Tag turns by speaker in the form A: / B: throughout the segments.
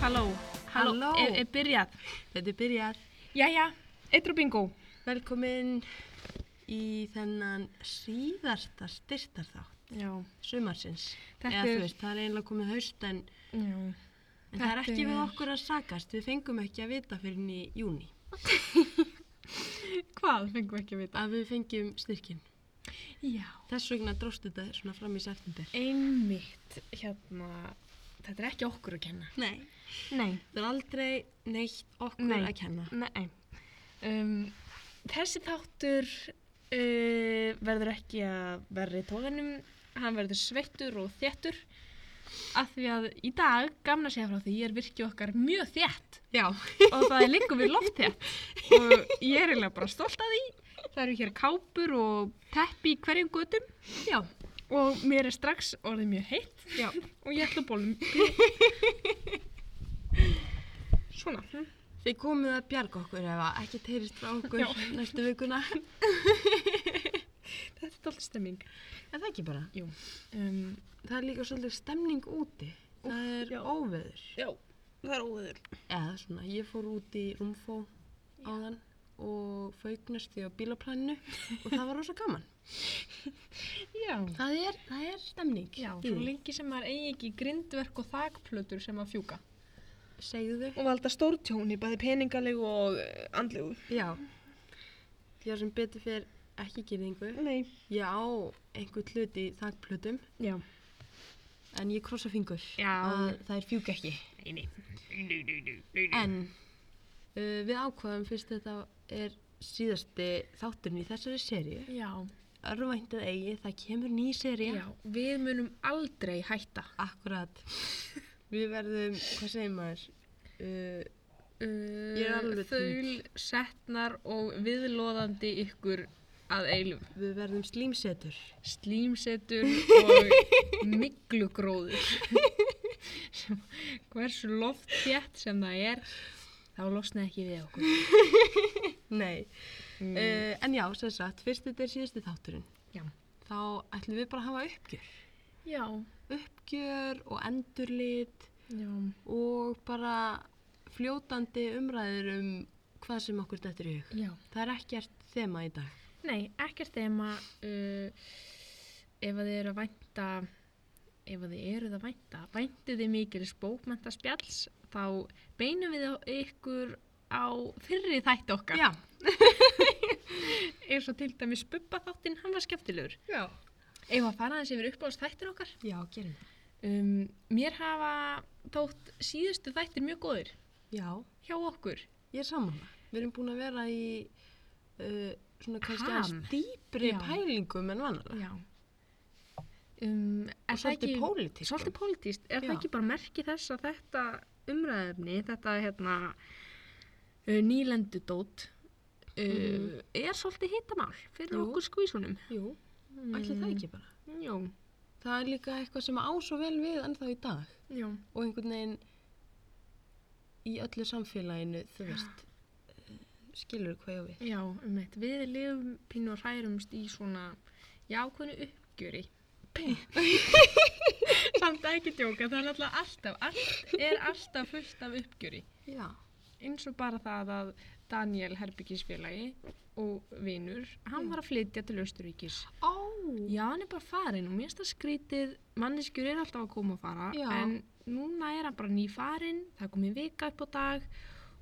A: Halló, halló,
B: Halló.
A: Er, er byrjað.
B: Þetta er byrjar.
A: Jæja, eitru bingo.
B: Velkomin í þennan síðasta styrtarþátt
A: Já,
B: sumarsins.
A: Þetta
B: Eða
A: er-
B: þú veist, það er eiginlega komið haust en,
A: já.
B: en það er
A: Þetta
B: ekki við
A: er-
B: okkur að sakast. Við fengum ekki að vita fyrir henni í júni
A: Hvað fengum við ekki að vita?
B: að við fengjum styrkin.
A: Já.
B: Þess vegna dróst þetta svona fram í september.
A: Einmitt, hérna, þetta er ekki okkur að kenna.
B: Nei.
A: Nei.
B: Það er aldrei neitt okkur
A: Nei.
B: að kenna.
A: Nei. Um, þessi þáttur uh, verður ekki að verði tóganum, hann verður sveittur og þéttur. Af því að í dag, gamna segja frá því, ég er virkið okkar mjög þétt.
B: Já.
A: og það er líka við loftið og ég er eiginlega bara stolt að því það eru hér kápur og teppi í hverjum götum
B: Já.
A: og mér er strax orðið mjög heitt
B: Já.
A: og ég ætla bólum svona
B: Þið komið að bjarga okkur ef að ekki teyrist frá okkur
A: Já.
B: næstu vikuna.
A: þetta er alltaf stemming
B: Er það ekki bara?
A: Jú. Um,
B: Það er líka svolítið stemning úti. Það er
A: já.
B: óveður.
A: já, það er óður
B: Eða svona, ég fór út í Rúmfó áðan og faugnast því á bílaplaninu og það var rosa gaman.
A: já,
B: Það er, það er stemning.
A: já
B: Jú.
A: svo lengi sem maður eigi ekki grindverk og þakplötur sem að fjúka
B: Segðu þau.
A: og valda stórtjóni, bæði peningalegu og eh, andlegu
B: Já. Ég sem betur fyrir ekki gerðingu.
A: nei,
B: Ég á einhvern hlut í þakplutum
A: já
B: en ég krossa fingur
A: Já.
B: að það er fjúk ekki.
A: nei, nei.
B: En uh, við ákvaðum fyrst þetta er síðasti þátturinn í þessari seríu.
A: já
B: Örvæntið eigi, það kemur ný seríu.
A: Já, við munum aldrei hætta.
B: Akkurat. Við verðum, hvað segir maður? Uh,
A: Uh,
B: Ég er alveg
A: Þaul, setnar og viðlóðandi ykkur að eilum.
B: við verðum slímsetur.
A: Slímsetur og miglugróður. sem, hversu loftjætt sem það er, þá losnaði ekki við okkur. Eh,
B: Nei. Uh, en já, sem sagt, fyrst þetta er síðasti þátturinn.
A: Mm. Já.
B: Þá ætlum við bara að hafa uppgjör.
A: Já,
B: Uppgjör og endurlit
A: já,
B: og bara fljótandi umræður um hvað sem okkur dettur í hug.
A: já.
B: Það er ekkert þema í dag.
A: Nei, ekkert þeim að uh, ef að þið eru að vænta ef að þið eruð að vænta væntu þið mikilis bókmentaspjalls þá beinum við á- ykkur á fyrri þætti okkar
B: Já.
A: eins og til dæmis bubba þáttinn, hann var skemmtilegur
B: Já.
A: ef að fara aðeins yfir uppáðast þættin okkar
B: Já, gerum það.
A: um, mér hafa þótt síðustu þættir mjög góðir
B: Já,
A: hjá okkur
B: ég er samanlega. Við erum búin að vera í uh, svona kannski
A: Ham.
B: aðeins dýpri
A: Já.
B: pælingum en vanlega.
A: Já um, er
B: Og
A: það
B: svolítið
A: ekki-
B: pólitískum.
A: Svolítið pólitískt, er
B: Já.
A: það ekki bara merki þess að þetta umræðefni, þetta hérna uh, nýlendudót uh,
B: Mhm.
A: er svolítið hittamál fyrir
B: Jú.
A: okkur skvísunum
B: Jú, allir það ekki bara.
A: Jó,
B: Það er líka eitthvað sem á svo vel við ennþá í dag
A: já,
B: og einhvern veginn í öllu samfélaginu, þú veist, eh, skilur hvað ég á við.
A: já, um eitt við lifum pínu og hærumst í svona jákvæðinu uppgjöri samt ekki djóka, það er alltaf alltaf allt er alltaf fullt af uppgjöri
B: Já,
A: eins og bara það að Daniel Herbyggisfélagi og vinur, hann var að flytja til Östuríkis.
B: ó,
A: Já, hann er bara farin og mér finnst það skrítið, manneskjur er alltaf að koma og fara,
B: Já.
A: en núna er hann bara ný farin, það er komið vika upp á dag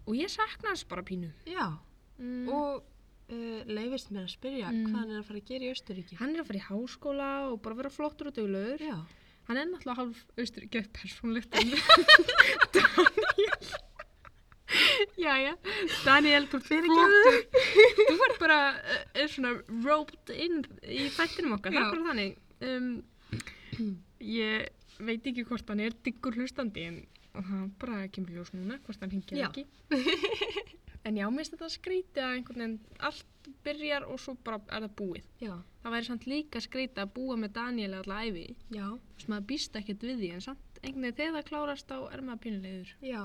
A: og ég sakna hans bara pínu.
B: já,
A: Mm.
B: og uh, leifist mér að spyrja
A: Mm.
B: hvað hann er að fara að gera í Östuríki.
A: Hann er að fara í háskóla og bara vera flottur og döglegur.
B: Já,
A: Hann er náttúrulega hálf austuríkja persónlegt en Daniel Jæja, Daniel, þú ert flottur Þú ert bara eh, er svona roped in í þættinum okkar, það
B: Já.
A: er bara þannig um, Ég veit ekki hvort hann er diggur hlustandi en hann bara kemur í ljós núna hvort hann hingir
B: Já.
A: ekki En já, mér finnst þetta skrítið að einhvern veginn allt byrjar og svo bara er það búið
B: já,
A: Það væri samt líka skrítið að búa með Daniel alla æfi
B: já,
A: Þú veist, maður býst ekkert við því, en samt einhvern veginn þegar það klárast þá er maður pínulegur.
B: já.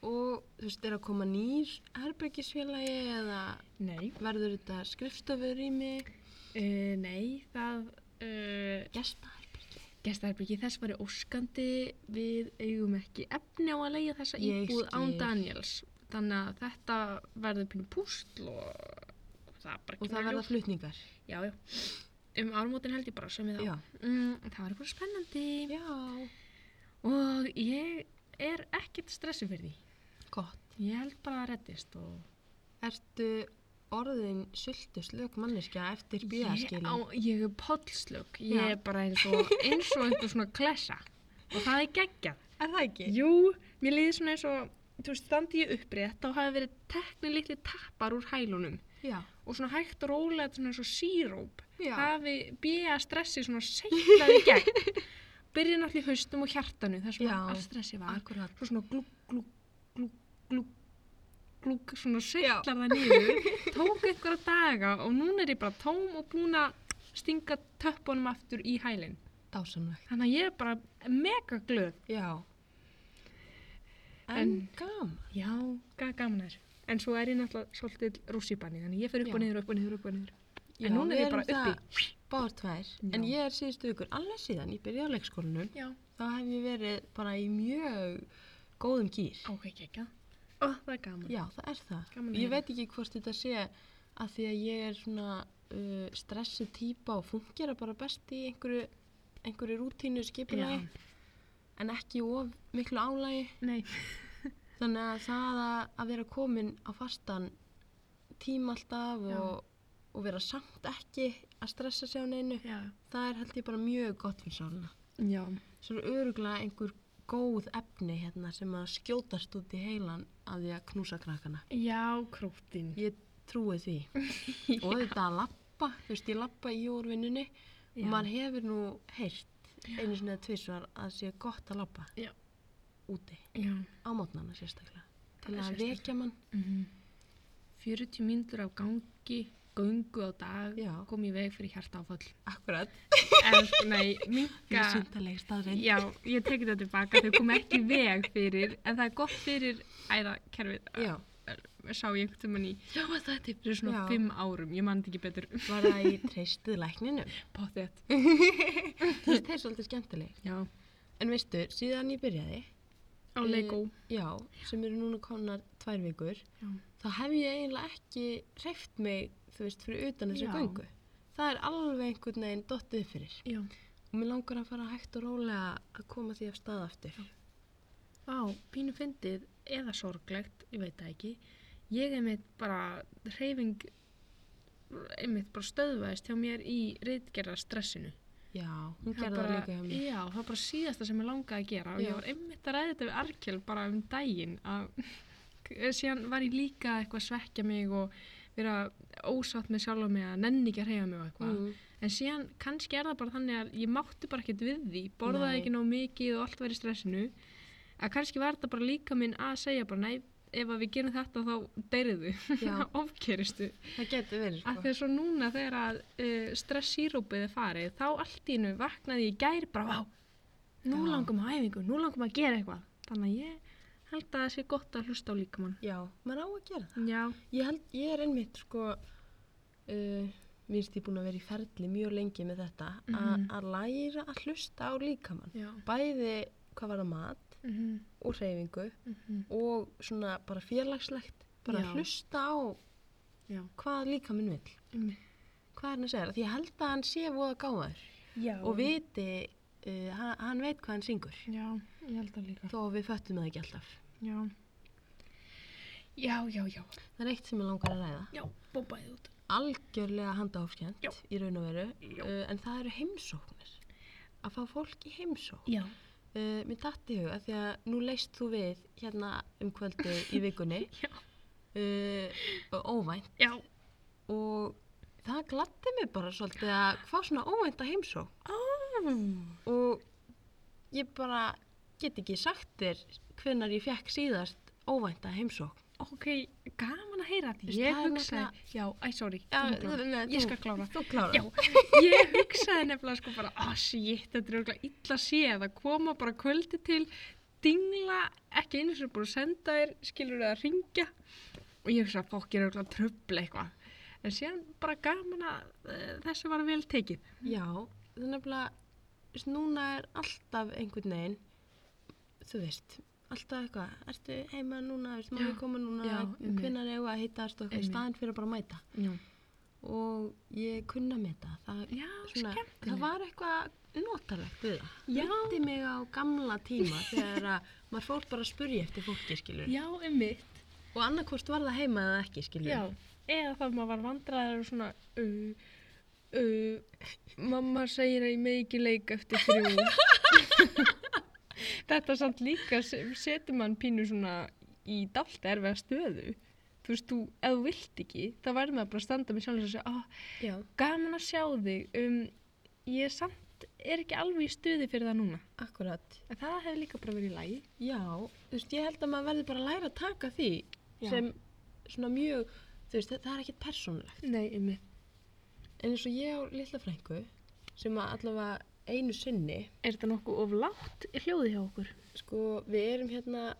B: Og þú veist, er að koma nýr herbyggisfélagi eða
A: Nei.
B: verður þetta skrifstofurými,
A: Uh, Eh, nei, það, uh,
B: gestaherbyggi?
A: Gestaherbyggi þess var óskandi, við eigum ekki efni á að leiða þessa
B: Ég
A: íbúð án
B: skil.
A: Daniels. Þannig að þetta verður pínu púsl og það er bara
B: og
A: ekki
B: það verða flutningar.
A: Já, já. Um ármótin held ég bara sem við
B: Já.
A: þá. Mm, það var eitthvað spennandi
B: Já.
A: og ég er ekkert stressið fyrir því.
B: Gott.
A: Ég held bara að reddist og...
B: Ertu orðin sultu slök manneskja eftir
A: Ég,
B: bíðaskilin?
A: á- ég er pollslög, ég
B: Já.
A: er bara eins og eins og einhver svona klessa og það er geggjað.
B: Er það ekki?
A: Jú, mér líður svona eins og, þú veist, standi ég upprétt þá hafi verið teknir litli tappar úr hælunum
B: Já.
A: og svona hægt og rólega svona eins og síróp
B: Já.
A: hafi bíða stressi svona seiklaði gegn. Byrja náttúrulega í haustum og hjartanu þar sem
B: Já.
A: all stressi var.
B: Akkurat.
A: Svo svona glúk, glúk, glúk, glúk, glúk, svona seiklar það niður. Tók einhverja daga og núna er ég bara tóm og búin að stinga töppunum aftur í hælinn.
B: Dásamlegt.
A: Þannig að ég er bara mega glöð.
B: Já. En,
A: En-
B: gaman.
A: Já, ga- gaman er. En svo er ég náttúrulega svolítið rússipanni, þannig ég fer upp
B: Já.
A: og niður, upp og niður, upp og niður. En
B: Já,
A: núna
B: við
A: er ég bara
B: erum
A: uppi.
B: það Báðar tvær. En
A: Já.
B: ég er síðustu vikur, alveg síðan, ég byrjaði á leikskólanum,
A: Já,
B: þá hef ég verið bara í mjög góðum gýr.
A: ok, ekki. Ó, það er gaman.
B: Já, það er það.
A: Gaman að
B: ég
A: heyra.
B: veit ekki hvort þetta sé að því að ég er svona uh, stressu típa og fungera bara best í einhverju, einhverju rútínu skipulagi, en ekki of miklu álægi.
A: Nei,
B: Þannig að það að, að vera komin á fastan tím alltaf
A: Já.
B: og, og vera samt ekki að stressa sig á neinu,
A: já.
B: það er held ég bara mjög gott fyrir sálina.
A: Já,
B: Svo eru öruglega einhver góð efni hérna sem að skjótast út í heilan að því að knúsa krakkana.
A: já, krótin.
B: Ég trúi því. og þetta að lappa, þú veist, ég lappa í úrvinnunni og maður hefur nú heyrt einu sinni eða tvisvar að það sé gott að lappa
A: Já.
B: úti,
A: Já.
B: á mótnana sérstaklega.
A: Það
B: Til
A: er
B: að
A: sérstaklega.
B: vekja mann.
A: Mhm. 40 mínútur á gangi, göngu á dag,
B: Já.
A: kom í veg fyrir hjartáfall.
B: Akkurat.
A: En, nei, minka,
B: Vísindaleg staðrind.
A: já, ég teki þetta tilbaka, þau kom ekki í veg fyrir, en það er gott fyrir æðakerfið,
B: Já,
A: sá ég einhvern tímann í, já, var það til fyrir svona
B: Já.
A: 5 árum, ég man þetta ekki betur,
B: var það í treystið lækninum.
A: pottet.
B: Þú veist, þeir eru svolítið skemmtileg.
A: Já,
B: En veistu, síðan ég byrjaði,
A: á
B: Eh,
A: Lego.
B: já, sem eru núna konar tvær vikur,
A: Já.
B: þá hef ég eiginlega ekki hreift mig, þú veist, fyrir utan þessa
A: Já.
B: göngu. Það er alveg einhvern veginn dottið upp fyrir.
A: Já,
B: Og mér langar að fara hægt og rólega að koma því af stað aftur.
A: á, pínu fyndið eða sorglegt, ég veit það ekki, ég einmitt bara, hreyfing, einmitt bara stöðvaðist hjá mér í reytgerra stressinu.
B: Já, hún gerði það líka hjá mér.
A: Já, það var bara síðasta sem ég langaði að gera og
B: Já.
A: ég var einmitt að ræða þetta við Arkjöl bara um daginn að síðan var ég líka eitthvað að svekkja mig og vera ósátt með sjálf og mig að nenni ekki að reyja mig og eitthvað
B: Mm.
A: en síðan kannski er það bara þannig að ég mátti bara ekkert við því, borðaði
B: Nei.
A: ekki nóg mikið og allt var í stressinu að kannski var þetta bara líka minn að segja bara nei, ef að við gerum þetta þá deyriðu,
B: Já.
A: ofkeristu
B: Það getur verið,
A: að
B: sko.
A: því að svo núna þegar að uh, stressýrópið er farið þá allt í nú vaknaði ég í gær bara vá, nú
B: Já.
A: langum að æfingu nú langum að gera eitthvað þannig að ég held að það sé gott að hlusta á líkamann
B: Já, maður á að gera það.
A: já,
B: Ég, held, ég er einmitt, sko, uh, minnst ég búin að vera í ferli mjög lengi með þetta, mm
A: Mhm.
B: að læra að hlusta á líkamann.
A: já
B: Bæði hvað var að mat
A: mm -hmm.
B: og hreyfingu
A: Mm -hmm.
B: og svona bara félagslegt, bara
A: Já.
B: hlusta á
A: já,
B: hvað líkaminn vil. Hvað er hann að segja? Því ég held að hann sé voða gáður
A: já
B: og viti, uh, hann, hann veit hvað hann syngur.
A: já, ég held að líka
B: Þó að við föttum það ekki alltaf.
A: já, já, já, já
B: Það er eitt sem ég langar að ræða.
A: já, bombaðið út
B: Algjörlega handahófskjönd
A: Já.
B: í raun og veru.
A: Já.
B: Uh, en það eru heimsóknir. Að fá fólk í heimsókn.
A: já,
B: Uh, mér datt í huga því að nú leist þú við hérna um kvöldu í vikunni.
A: Já.
B: Uh, og óvænt.
A: já,
B: Og það gladdi mig bara svolítið að hvað svona óvænt að heimsókn.
A: ó
B: Og ég bara get ekki sagt þér hvenar ég fekk síðast óvænt að heimsókn.
A: ok, gaman að heyra því
B: Veist,
A: ég
B: það er
A: hugsaði,
B: náttúrulega-
A: já, æ, sorry þú mátt klára.
B: nei,
A: ég
B: þú-
A: skal klára
B: Þú klára.
A: Já, ég hugsaði nefnilega sko bara, ah shit, þetta er auðvitað illa séð að koma bara kvöldi til, dingla, ekki einu sem búin að senda þér, skilur það að ringja og ég hugsaði að fólk er auðvitað tröfla eitthvað. En síðan bara gaman að uh, þessu eh, var vel tekið.
B: Já, það er nefnilega veist, núna er alltaf einhvern veginn, þú veist, alltaf eitthvað, ertu heima núna, veist, má
A: Já,
B: ég koma núna,
A: já, einmitt.
B: hvenær eigum við að hittast og eitthvað, í
A: Einmitt.
B: staðin fyrir bara að mæta.
A: Já,
B: Og ég kunna með þetta, það,
A: já
B: svona, það var eitthvað notalegt við það.
A: Já.
B: Myndi mig á gamla tíma þegar að maður fór bara að spurja eftir fólki, skilur.
A: Já, einmitt.
B: Og annarkvort var það heima eða ekki, skilur.
A: Já, eða þá maður var vandræðar og svona, uh, uh, mamma segir að ég megi ekki leik eftir þrjú. Þetta samt líka se- setur mann pínu svona í dalt erfiða stöðu. Þú veist, þú, ef þú vilt ekki, þá verður maður bara að standa með sjálf og segja, ah,
B: Já.
A: gaman að sjá þig, um, ég samt er ekki alveg í stöði fyrir það núna.
B: Akkurat.
A: En það hefur líka bara verið í lagi.
B: Já, þú veist, ég held að maður verði bara að læra að taka því
A: Já.
B: sem svona mjög, þú veist, það er ekkert persónulegt.
A: Nei, um mitt.
B: En eins og ég á litla frængu sem að allavega einu sinni,
A: Er þetta nokkuð of lágt hljóði hjá okkur?
B: sko, við erum hérna,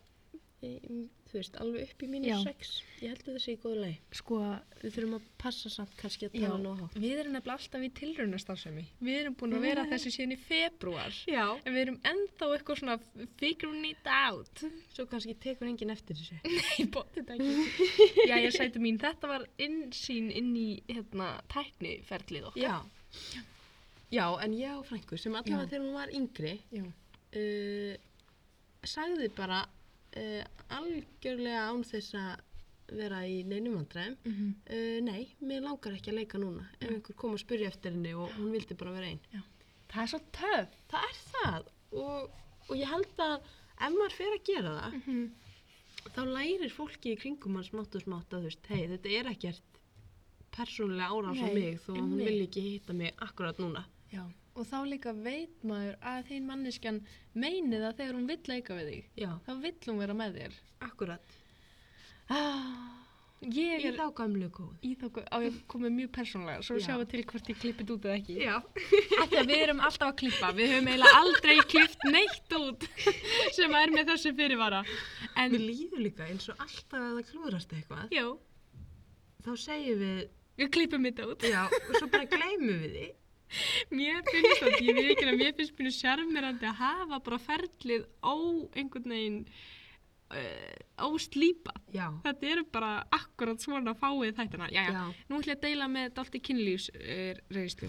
B: í, þú veist, alveg upp í
A: Já.
B: mínus 6. Ég held að það sé í góðu lagi.
A: Sko,
B: Við þurfum að passa samt kannski að
A: Já,
B: tala nóg hátt.
A: við erum nefnilega alltaf í tilraunastarfsemi. Við erum búin að vera að þessu síðan í februar.
B: Já.
A: En við erum ennþá eitthvað svona figuring it out.
B: Svo kannski tekur enginn eftir þessu.
A: Nei, bótti þetta ekki. Já, ég sæti mín, þetta var innsýn inn í hérna, tækniferlið okkar.
B: Já. Já, en ég á frængu sem allavega
A: Já.
B: þegar hún var yngri,
A: Já.
B: uh, sagði bara uh, algjörlega án þess að vera í neinum vandræðum
A: Mm -hmm.
B: uh, nei, mér langar ekki að leika núna ef einhver kom að spyrja eftir henni og hún vildi bara vera einn
A: Það er svo töf.
B: það er það og, og ég held að ef maður fer að gera það
A: Mm -hmm.
B: þá lærir fólki í kringum hann smátt og smátt að þú veist, hei, þetta er ekkert persónulega árás á
A: Nei,
B: mig þó að hún
A: einmitt.
B: vil ekki hitta mig akkurat núna
A: Já. Og þá líka veit maður að þín manneskjan meini það þegar hún vill leika við þig.
B: já,
A: Þá vill hún vera með þér.
B: akkurat
A: Ah, ég
B: í
A: er
B: þá gamlu góð
A: í þá á ég komið mjög persónlega. Svo
B: Já.
A: sjáum við til hvort ég klippið út eða ekki.
B: já,
A: Af því að við erum alltaf að klippa, við höfum eiginlega aldrei klippt neitt út sem er með þessu fyrirvara. En,
B: mér líður líka eins og alltaf að það klúðrast eitthvað
A: já,
B: þá segjum við
A: við klippum þetta út.
B: já, og svo bara gleymum við því
A: Mér finnst það, ég veit ekki að mér finnst mjög sjarmirandi að hafa bara ferlið á einhvern veginn uh, óslýpa.
B: já,
A: Þetta eru bara akkurat svona fáið þættina. Jæja,
B: já,
A: nú ætlum ég að deila með dalti kynlífsreyðslu.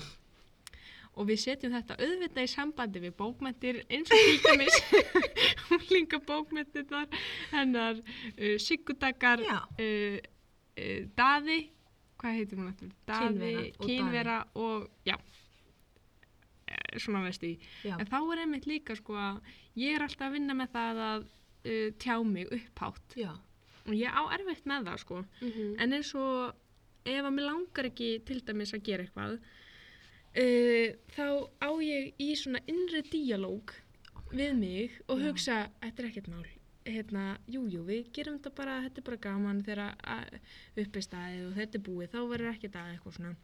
A: Og við setjum þetta auðvitað í sambandi við bókmyndir eins og til dæmis húlinga bókmyndir þar, hennar uh, Sigurdakar,
B: Já.
A: uh, uh, Daði, hvað heitir hún eftir? Daði,
B: Kynvera og
A: Kynvera og, já, Eh, svona veist í.
B: já,
A: En þá er einmitt líka sko að ég er alltaf að vinna með það að uh, tjá mig upphátt
B: já.
A: og ég á erfitt með það sko.
B: En,
A: En eins og ef að mér langar ekki til dæmis að gera eitthvað, uh, þá á ég í svona innri díalóg við mig og
B: Já.
A: hugsa, þetta er ekkert mál. Hérna, jú, jú, við gerum þetta bara, þetta er bara gaman þegar að uppi staðið og þetta er búið, þá verður ekkert að eitthvað svona.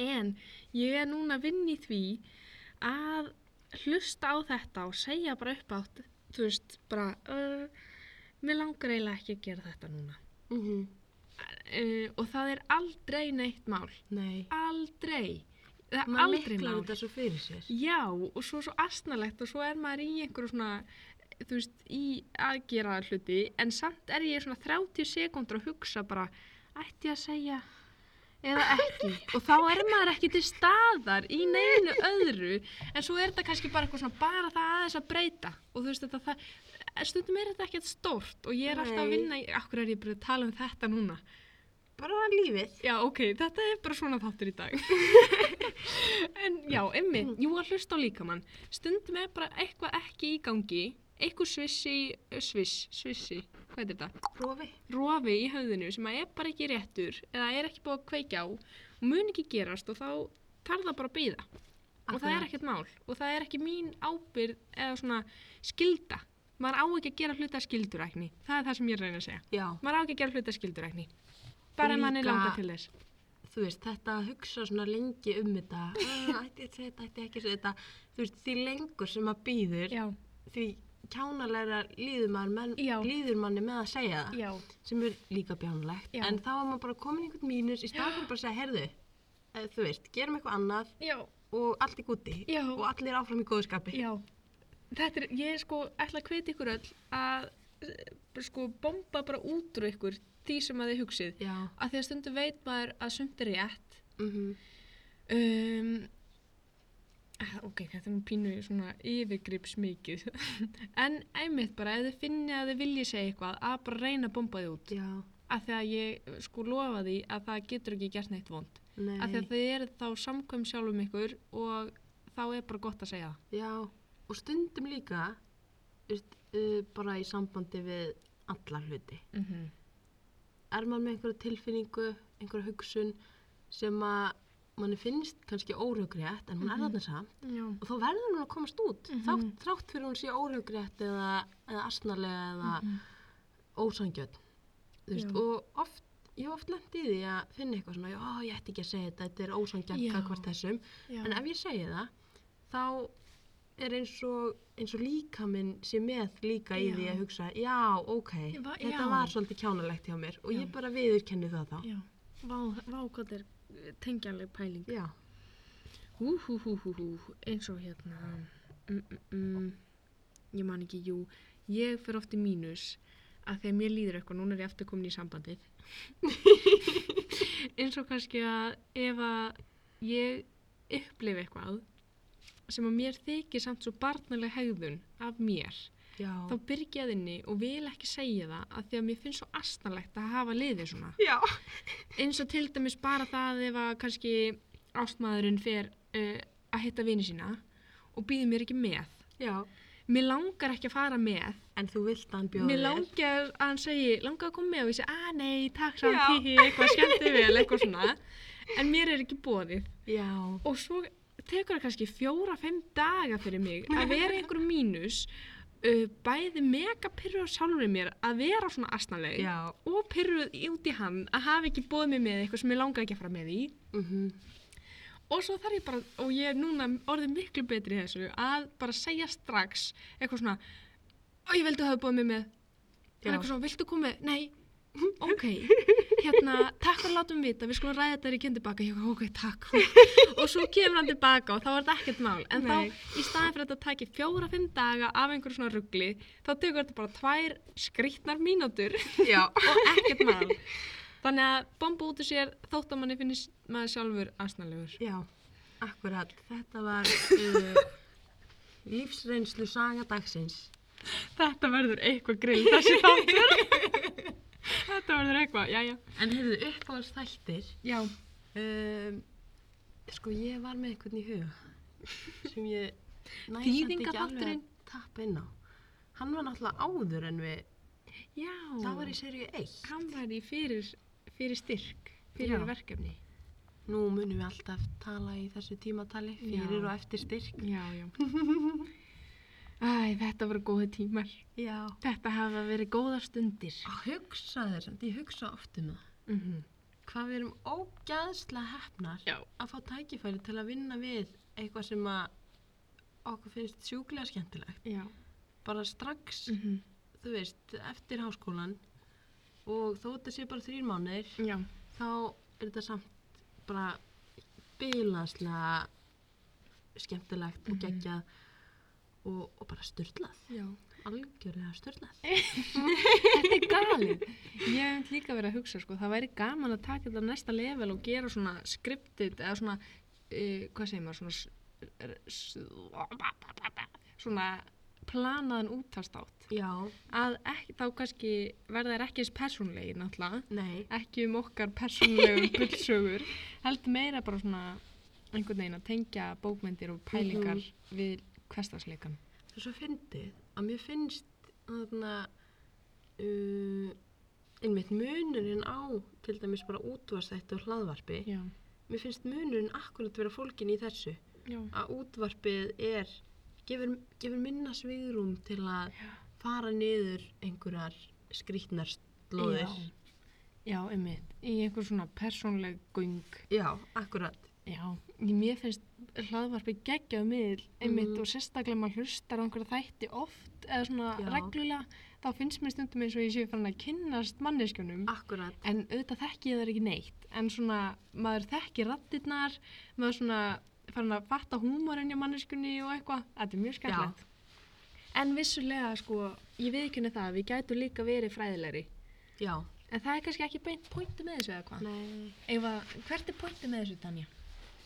A: En ég er núna að vinna í því að hlusta á þetta og segja bara upp átt, þú veist, bara, uh, mér langar eiginlega ekki að gera þetta núna. Mhm. Uh, og það er aldrei neitt mál.
B: nei,
A: Aldrei. Það er
B: maður
A: aldrei
B: miklar
A: mál.
B: þetta svo fyrir sér.
A: Já, og svo svo astnalegt og svo er maður í einhverju svona, þú veist, í að gera hluti, en samt er ég svona 30 sekundur að hugsa bara, ætti ég að segja eða ekki. og þá er maður ekki til staðar í neinu öðru, en svo er þetta kannski bara eitthvað svona, bara það aðeins að breyta. Og þú veist, þetta, það, stundum er þetta ekkert stórt og ég er alltaf að
B: Nei.
A: vinna í, akkur er ég bara að tala um þetta núna?
B: Bara lífið.
A: Já, ok, þetta er bara svona þáttur í dag. en já, emmi,
B: Mm.
A: jú að hlusta á líkamann. Stundum er bara eitthvað ekki í gangi, eitthvað svissi, eh, sviss, svissi, hvað er þetta?
B: Rofi.
A: Rofi í höfðinu sem að er bara ekki réttur eða er ekki búið að kveikja á og mun ekki gerast og þá þarf það bara að býða. Og það er
B: Akkurat.
A: ekkert mál og það er ekki mín ábyrð eða svona skilda. Maður á ekki að gera hluta skildurækni. Það er það sem ég er að reyna að segja.
B: Já,
A: Maður á ekki að gera hluta skildurækni. Bara ef manni
B: Líka-
A: langar til þess.
B: þú veist, þetta að hugsa svona lengi um þetta, "Ah, ætti ég að segja þetta, ætti ég ekki að segja þetta, þú veist, því lengur sem maður býður,
A: Já,
B: því kjánalega líður, maður menn,
A: Já.
B: líður manni með að segja það,
A: já,
B: sem er líka bjánulegt,
A: Já.
B: en þá er maður bara komin í einhvern mínus í staðan fyrir bara að segja, herðu, eh, þú veist, gerum eitthvað annað,
A: já,
B: og allt er gúti
A: Já.
B: og allir áfram í góðu skapi
A: Já, þetta er, ég er sko ætla að hvita ykkur öll að eh, bara sko bomba bara út úr ykkur því sem að þið hugsið.
B: Já.
A: Að því að stundum veit maður að sumt er rétt.
B: Mhm.
A: Um, eh, ok, þetta er nú pínu svona yfirgripsmikið. en einmitt bara ef þið finni að þið vilji segja eitthvað að bara reyna að bomba þið út.
B: Já.
A: Að því að ég eh, sko lofa því að það getur ekki gert neitt vond.
B: Nei.
A: Að því að þið eru þá samkvæm sjálfum ykkur og þá er bara gott að segja það.
B: Já. Og stundum líka, veist, uh, bara í sambandi við alla hluti.
A: Mm -hmm.
B: Er maður með einhverja tilfinningu, einhverja hugsun sem að manni finnst kannski óröggrétt en hún er þarna samt
A: Já.
B: og þá verður hún að komast út
A: Mhm.
B: þrátt, þrátt fyrir hún sé óröggrétt eða, eða asnalega eða
A: Mhm.
B: ósangjörn þú veist,
A: Já.
B: og oft, ég hef oft lent í því að finna eitthvað svona, já, ég ætti ekki að segja þetta þetta er ósangjörn
A: Já.
B: kakvart þessum
A: Já.
B: en ef ég segi það, þá er eins og, eins og líka minn sé með líka í
A: Já.
B: því að hugsa já, ok,
A: Ég va-
B: þetta
A: já.
B: var svolítið kjánalegt hjá mér og
A: Já.
B: ég bara viðurkenni það þá
A: Já, vá, vá hvað er tengjanleg pæling.
B: já,
A: Hú, hú, hú, hú, hú, eins og hérna, mm, mm, mm, ég man ekki, jú, ég fer oft í mínus að þegar mér líður eitthvað, núna er ég aftur komin í sambandið. eins og kannski að ef að ég upplifi eitthvað sem að mér þykir samt svo barnaleg hegðun af mér,
B: já,
A: þá byrgja ég að inni og vil ekki segja það að því að mér finnst svo astnalegt að hafa liðið svona.
B: já.
A: eins og til dæmis bara það ef að kannski ástmaðurinn fer uh, að hitta vini sína og býður mér ekki með.
B: já.
A: Mér langar ekki að fara með.
B: en þú vilt að hann bjóða
A: Mér langar að hann segi, langar að koma með og ég segi, að nei, takk
B: Já.
A: samt, hihi, eitthvað skemmti vel, eitthvað svona. En mér er ekki bóðið.
B: já,
A: Og svo tekur það kannski fjóra-fem daga fyrir mig að vera í einhverjum mínus, uh, bæði mega pyrruð á sjálfur mér að vera svona asnaleg
B: já
A: og pyrruð út í hann að hafa ekki bóðið mig með eitthvað sem ég langaði ekki að fara með í.
B: mm
A: Og svo þarf ég bara, og ég er núna orðið miklu betri í þessu, að bara segja strax eitthvað svona, og ég vildi hafa búið mig með, það
B: Já.
A: er eitthvað svona, viltu komið, nei, Hm, ok, hérna, takk fyrir að láta um vita, við skulum ræða þetta í kjöndi baka, ég, ok, takk, og svo kemur hann tilbaka og þá er þetta ekkert mál, en
B: Nei.
A: þá, í staðin fyrir að þetta taki fjóra-fimm daga af einhverju svona ruggli, þá tekur þetta bara tvær skrýtnar mínútur
B: já,
A: og ekkert mál. Þannig að bomba út úr sér þótt að manni finnist maður sjálfur asnalegur.
B: já akkurat, þetta var uh, lífsreynslu saga dagsins
A: Þetta verður eitthvað grill þessi þáttur. Þetta verður eitthvað, já, já.
B: en hefðu uppáðast þættir
A: Já,
B: um, sko ég var með einhvern í huga sem ég næ samt ekki alveg að
A: Þýðingaþátturinn?
B: tappa inn á hann var náttúrulega áður en við
A: já.
B: það var í seríu 1
A: Hann var í fyrir, fyrir styrk, fyrir
B: Já.
A: verkefni.
B: nú munum við alltaf tala í þessu tímatali
A: Já.
B: fyrir og eftir styrk
A: Já, já. Æ, þetta voru góði tímar.
B: já
A: Þetta hafa verið góðar stundir.
B: hugsa þér, samt, ég hugsa oft um það
A: Mm
B: hvað við erum ógæðslega hefnar
A: Já.
B: að fá tækifæri til að vinna við eitthvað sem að okkur finnst sjúklega skemmtilegt
A: Já.
B: bara strax
A: Mm
B: þú veist, eftir háskólan og þó þetta sé bara þrýr mánuðir
A: Já.
B: þá er þetta samt bara bilanslega skemmtilegt og
A: Mhm.
B: geggjað og, og bara styrlað
A: Já.
B: algjörlega styrlað
A: Þetta er galið. Ég hef líka verið að hugsa, sko, það væri gaman að taka þetta á næsta level og gera svona skriptið eða svona, uh, hvað segir maður, svona, s- s- svona planaðan útastátt.
B: já,
A: Að ekki, þá kannski verða þær ekki eins persónlegi náttúrulega,
B: nei,
A: ekki um okkar persónlegu bullsögur, heldur meira bara svona einhvern veginn að tengja bókmyndir og pælingar við hversdagsleikan.
B: það er svo fyndið að mér finnst þarna uh, einmitt munurinn á til dæmis bara útvarstætti og hlaðvarpi
A: Já,
B: mér finnst munurinn akkurat vera fólkin í þessu
A: já,
B: að útvarpið er gefur, gefur minna svigrúm til að fara niður einhverjar skrýtnar slóðir
A: Já. já, einmitt, í einhver svona persónleg gung.
B: já, akkurat
A: Já, ég- mér finnst hlaðvarpi geggjaðu miðl einmitt
B: Mhm.
A: og sérstaklega maður hlustar á einhverja þætti oft eða svona
B: Já.
A: reglulega þá finnst mér stundum eins og ég sé farin að kynnast manneskjunum
B: akkurat,
A: en auðvitað þekki ég þar ekki neitt en svona maður þekki rattirnar maður svona farin að fatta húmorinn í manneskunni og eitthvað. Þetta er mjög skemmtilegt. En vissulega, sko, ég viðkynna það, við gætum líka verið fræðilegri.
B: Já.
A: En það er kannski ekki beint pointi með þessu eða hvað?
B: Nei,
A: Ef að, hvert er pointi með þessu, Tanja?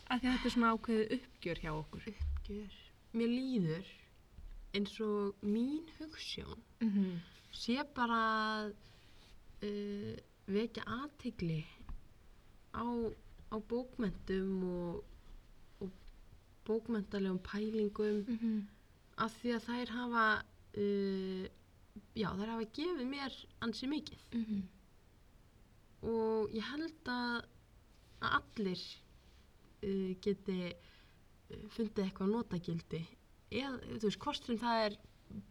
A: Af því að þetta er svona ákveðið uppgjör hjá okkur.
B: uppgjör. Mér líður eins og mín hugsjón
A: Mm -hmm.
B: sé bara að uh, vekja aðtegli á, á bókmentum og, og bókmentalegum pælingum
A: Mm -hmm.
B: af því að þær hafa uh, já, þær hafa gefið mér ansi mikið
A: Mm -hmm.
B: og ég held að, að allir uh, geti uh, fundið eitthvað notagildi eða, þú veist, hvort sem það er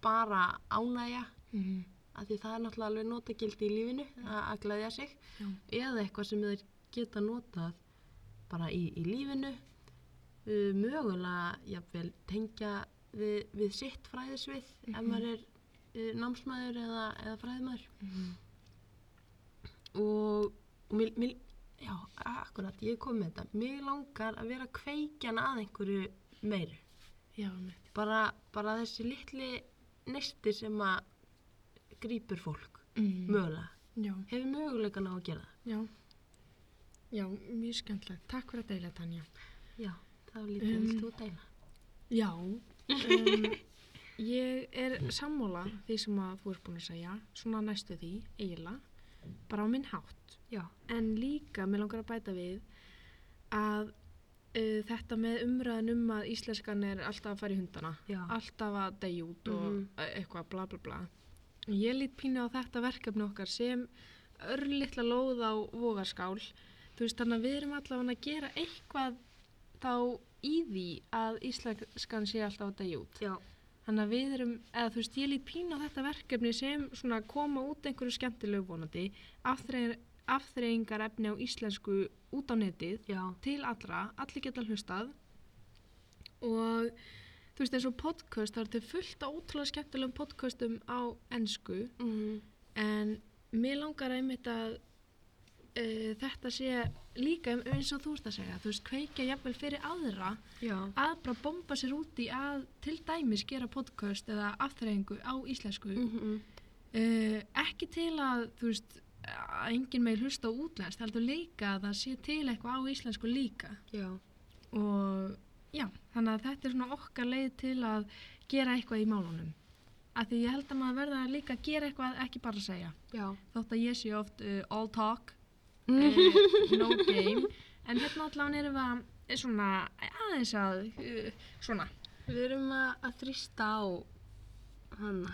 B: bara ánægja
A: Mhm.
B: af því það er náttúrulega alveg notagildi í lífinu að, að glæðja sig
A: Já.
B: eða eitthvað sem þeir geta notað bara í, í lífinu uh, mögulega jafnvel tengja við, við sitt fræðisvið ef
A: Mhm.
B: maður er uh, námsmaður eða, eða fræðimaður
A: Mhm.
B: og, og mér, mér, já, akkurat, ég kom með þetta mér langar að vera kveikjan að einhverju meiru
A: Já, mitt.
B: bara, bara þessi litli nesti sem að grýpur fólk
A: Mm.
B: mögulega,
A: Já,
B: hefur möguleikan á að gera það
A: já. Já, mjög skemmtilegt. Takk fyrir að deila, Tanja.
B: já, það var lítið
A: Um,
B: um, þú dæla
A: Já, um, ég er sammála því sem að þú ert búin að segja, svona næstu því, eiginlega, bara á minn hátt.
B: já,
A: En líka, mér langar að bæta við að uh, þetta með umræðan um að íslenskan er alltaf að fara í hundana,
B: já,
A: alltaf að degja út og e-
B: Mhm.
A: eitthvað bla bla bla. Ég lít pínu á þetta verkefni okkar sem örlittla lóð á vogarskál. Þú veist, þannig að við erum allavega að gera eitthvað þá í því að íslenskan sé alltaf að degja út.
B: já,
A: Þannig að við erum, eða þú veist, ég lít pínu á þetta verkefni sem svona koma út einhverju skemmtilegu vonandi, afþreyingar efni á íslensku út á netið
B: já,
A: til allra, allir geta hlustað og þú veist eins og podcast, það er til fullt á ótrúlega skemmtilegum podcastum á ennsku Mm-hmm.
B: mm,
A: en mér langar einmitt að uh, þetta sé líka um- eins og þú ert að segja, þú veist, kveikja jafnvel fyrir aðra
B: já,
A: að bara bomba sér út í að til dæmis gera podcast eða afþreyingu á íslensku
B: mhm,
A: Uh, ekki til að, þú veist, að enginn með hlusta á útlenskt, heldur líka að það sé til eitthvað á íslensku líka.
B: já,
A: Og já, þannig að þetta er svona okkar leið til að gera eitthvað í málunum. Af því ég held að maður verða líka að gera eitthvað, ekki bara að segja.
B: já Eh,
A: Þótt að ég sé oft uh, all talk, uh, no game, en hérna allan erum við að, eh, svona, aðeins að, uh, svona,
B: við erum að, að þrýsta á hana,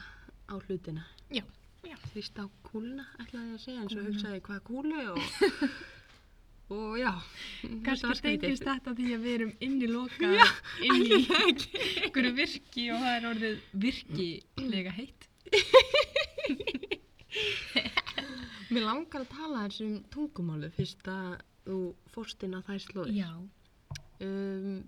B: á hlutina
A: Já, já.
B: þrýsta á kúluna, ætlaði ég að segja eins og
A: Kúluna.
B: hugsaði hvað kúlu og, og já þetta var
A: kannski
B: skrítið.
A: tengist þetta því að við erum inni lokað, inni í einhverju virki og það er orðið virkilega heitt.
B: Mér langar að tala þessum tungumálu um fyrst að þú fórst inn á þær slóðir.
A: Já.
B: Um,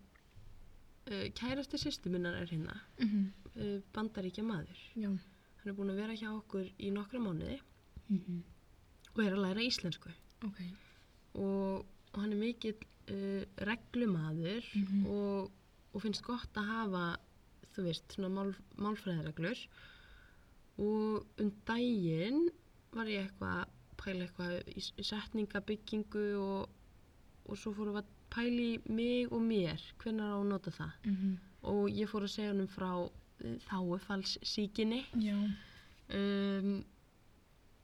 B: uh, kærasti sýstu minnar er hérna,
A: Mm -hmm.
B: uh, bandaríkja maður.
A: Já.
B: Hann er búin að vera hjá okkur í nokkra mánuði
A: Mm -hmm.
B: og er að læra íslensku.
A: Ok.
B: Og, og hann er mikill uh, reglumadur
A: Mhm.
B: og, og finnst gott að hafa, þú veist, svona mál, málfræðireglur. Og um daginn var ég eitthvað að pæla eitthvað í, í setningabyggingu og, og svo fórum við að pæla í mig og mér, hvernig á að nota það.
A: Mm
B: Og ég fór að segja honum frá eh, þáufallssíkinni
A: Já.
B: um,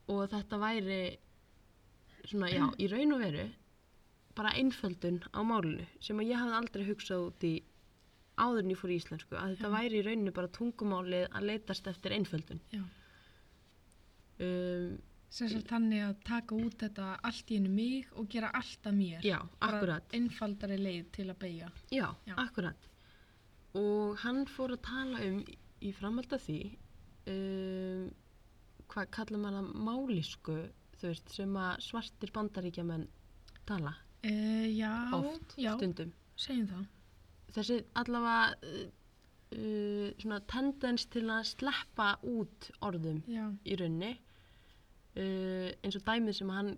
B: og þetta væri svona, já, í raun og veru bara einföldun á málinu sem að ég hafði aldrei hugsað út í áður en ég fór í íslensku að þetta
A: Já.
B: væri í rauninu bara tungumálið að leitast eftir einföldun
A: Já.
B: um,
A: Sess að þannig að taka út þetta allt í einu mig og gera allt að mér.
B: já, akkurat
A: Bara einfaldari leið til að beigja.
B: Já,
A: Já.
B: akkurat. Og hann fór að tala um í- í framhald af því um, hvað kallar maður að málisku þú veist, sem að svartir bandaríkjamenn tala
A: Uh, já.
B: oft,
A: Já,
B: stundum.
A: segjum það.
B: Þessi allavega uh, uh, svona tendens til að sleppa út orðum
A: Já.
B: í raunni uh, eins og dæmið sem hann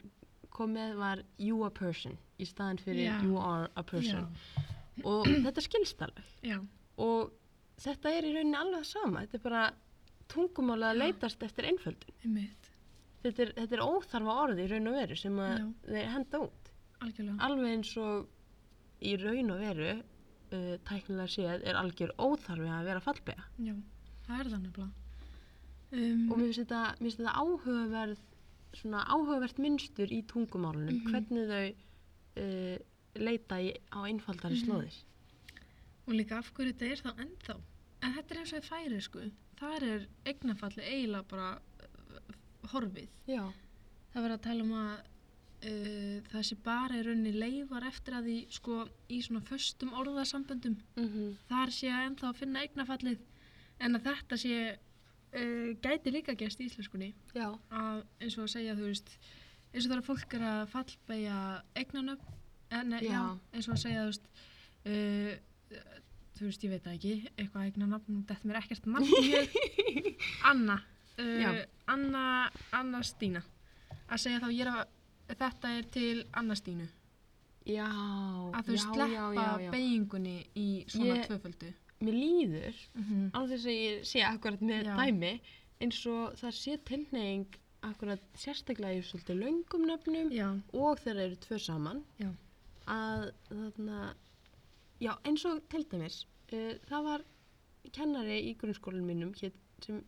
B: kom með var you a person í staðan fyrir
A: Já.
B: you are a person
A: Já.
B: og þetta skilst alveg
A: já,
B: og þetta er í rauninni alveg það sama þetta er bara tungumála að leitast eftir einföldun
A: einmitt,
B: þetta er, þetta er óþarfa orði í raun og veru sem að
A: Já. Mm.
B: þeir henda út
A: algjörlega.
B: alveg eins og í raun og veru uh, tæknilega séð er algjör óþarfi að vera fallbega
A: já, það er það nefnilega. Um,
B: og mér finnst þetta, mér finnst þetta áhugaverð svona áhugavert mynstur í tungumálunum
A: Mhm.
B: hvernig þau uh, leita í, á
A: Mhm.
B: einfaldari slóðir
A: Og líka af hverju þetta er þá ennþá. En þetta er eins og í færi, sko. Þar er eignafalli eiginlega bara uh, horfið.
B: já,
A: Það verður að tala um að uh, það sé bara í rauninni leifar eftir að því, sko, í svona föstum orðasamböndum.
B: mm
A: Þar sé að ennþá að finna eignafallið. En að þetta sé, uh, gæti líka gæst í íslenskunni.
B: já,
A: Að eins og að segja, þú veist, eins og þegar fólk er að fallbæja eignanöfn. En, já. já,
B: Já.
A: eins og að segja, þú veist, uh, þú veist, ég veit það ekki, eitthvað eigna nafn, þetta mér ekkert nafn mjög, Anna,
B: Já.
A: uh, Anna, Anna Stína, að segja þá ég er að, þetta er til Anna Stínu,
B: já
A: að þau
B: já, já,
A: sleppa
B: já, já.
A: beigingunni í svona
B: Ég- Mhm.
A: tvöföldu.
B: mér líður
A: Mm -hmm.
B: án þess að ég sé akkurat með
A: Já.
B: dæmi eins og það sé tilneying akkurat sérstaklega í svolítið löngum nöfnum
A: Já,
B: og þegar eru tvö saman
A: Já.
B: að þarna já eins og til dæmis uh, það var kennari í grunnskólanum mínum hét, sem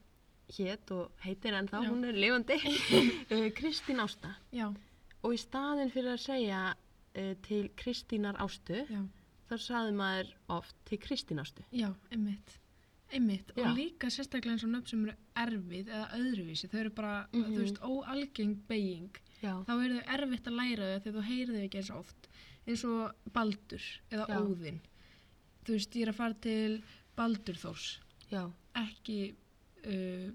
B: hétt og heitir ennþá,
A: Já.
B: hún er lifandi uh, Kristín Ásta
A: já,
B: og í staðin fyrir að segja uh, til Kristínar Ástu
A: já,
B: þar saði maður oft til Kristín Ástu
A: já, einmitt, einmitt
B: Já.
A: og líka sérstaklega eins og nöfn sem eru erfið eða öðruvísi, þau eru bara,
B: Mhm.
A: þú veist, óalgeng beiging.
B: já,
A: þá er þau erfitt að læra þau þegar þú heyrir þau ekki eins oft eins og Baldur eða
B: Já.
A: Óðinn þú veist, ég er að fara til Baldur Þórs
B: já,
A: ekki uh,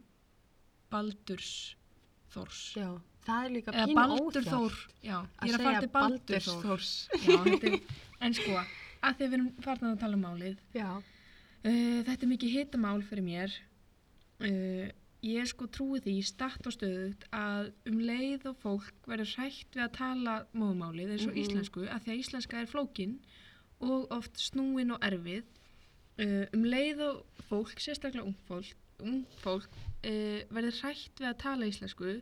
A: Baldurs Þórs
B: já það er líka
A: eða
B: pínu
A: Baldur
B: óþjált.
A: Þór já, ég
B: að
A: er að fara
B: segja
A: til Baldur
B: Baldurs
A: Þór
B: Þórs.
A: já, þetta er, en sko, að því að við erum farin að tala um málið
B: Já,
A: uh, þetta er mikið hitamál fyrir mér uh, ég sko trúi því statt og stöðut að um leið og fólk verður hrætt við að tala móðumálið eins og
B: Mhm.
A: íslensku að því að íslenska er flókin og oft snúin og erfið uh, um leið og fólk sérstaklega ung fólk, ung fólk uh, verður hrætt við að tala íslensku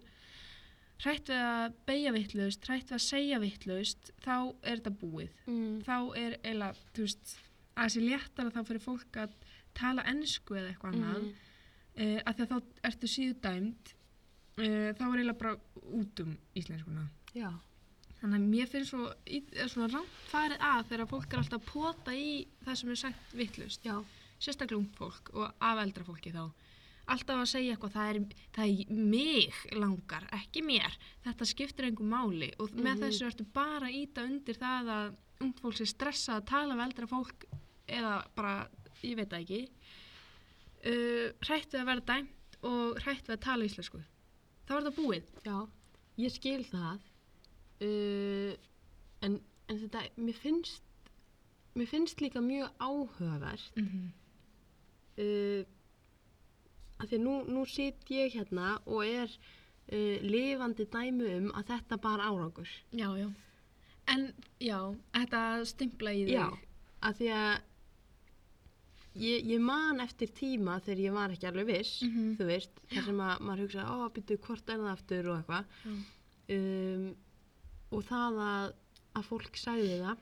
A: hrætt við að beigja vitlaust, hrætt við að segja vitlaust þá er þetta búið
B: mm,
A: þá er eiginlega, þú veist, að þessi léttara þá fyrir fólk að tala ennsku eða eitthvað annað,
B: mm,
A: mm. uh, að því að þá ertu síðu dæmd, uh, þá er eiginlega bara út um íslenskuna.
B: já,
A: Þannig að mér finnst svo, í- eða svona rámt farið að þegar fólk er alltaf að pota í það sem er sagt vittlust,
B: já,
A: sérstaklega ung fólk og af eldra fólki þá. Alltaf að segja eitthvað, það er, það er mig langar, ekki mér. Þetta skiptir engum máli og með
B: Mhm.
A: þessu ertu bara að íta undir það að ung fólk sé stressað að tala við eldra fólk eða bara, ég veit það ekki. Uh, hrætt við að vera dæmt og hrætt við að tala íslensku. Þá er það búið.
B: já, ég skil það, uh, en, en þetta, mér finnst, mér finnst líka mjög áhugavert,
A: Mm -hmm.
B: uh, að því að nú, nú sit ég hérna og er uh, lifandi dæmi um að þetta bar árangur,
A: Já, já. En, já, þetta stimpla í þig.
B: Já. að því að Ég, ég man eftir tíma þegar ég var ekki alveg viss,
A: Mhm.
B: þú veist, þar sem að maður hugsa, ó, býttu, hvort er það aftur og eitthvað.
A: Já.
B: um, og það að, að fólk sagði það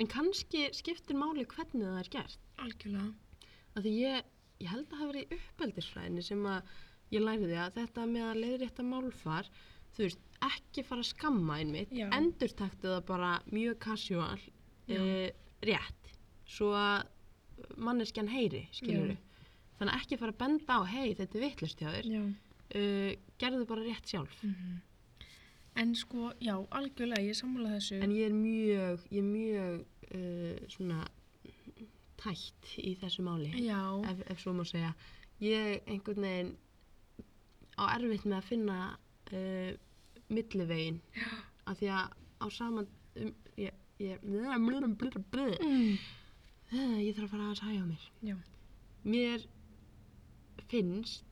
B: en kannski skiptir máli hvernig það er gert
A: Algjörlega.
B: af því ég, ég held að það hafi verið í uppeldisfræðinni sem að ég læriði að þetta með að leiðrétta málfar þú veist, ekki fara að skamma einmitt
A: Já.
B: endurtaktu það bara mjög casual
A: Já.
B: uh, rétt svo að manneskjan heyri skilur
A: Já.
B: þannig að ekki fara að benda á hei þetta er vitlust hjá þér
A: Já.
B: uh, gerðu bara rétt sjálf
A: Mhm. En sko, já, algjörlega, ég sammála þessu.
B: En ég er mjög, ég er mjög uh, svona tætt í þessu máli,
A: já.
B: ef, ef svo má segja. Ég einhvern veginn á erfitt með að finna uh, millivegin, af því að á saman, um, ég, ég, ég
A: Mm.
B: þarf að fara að sæja á mér.
A: Já.
B: Mér finnst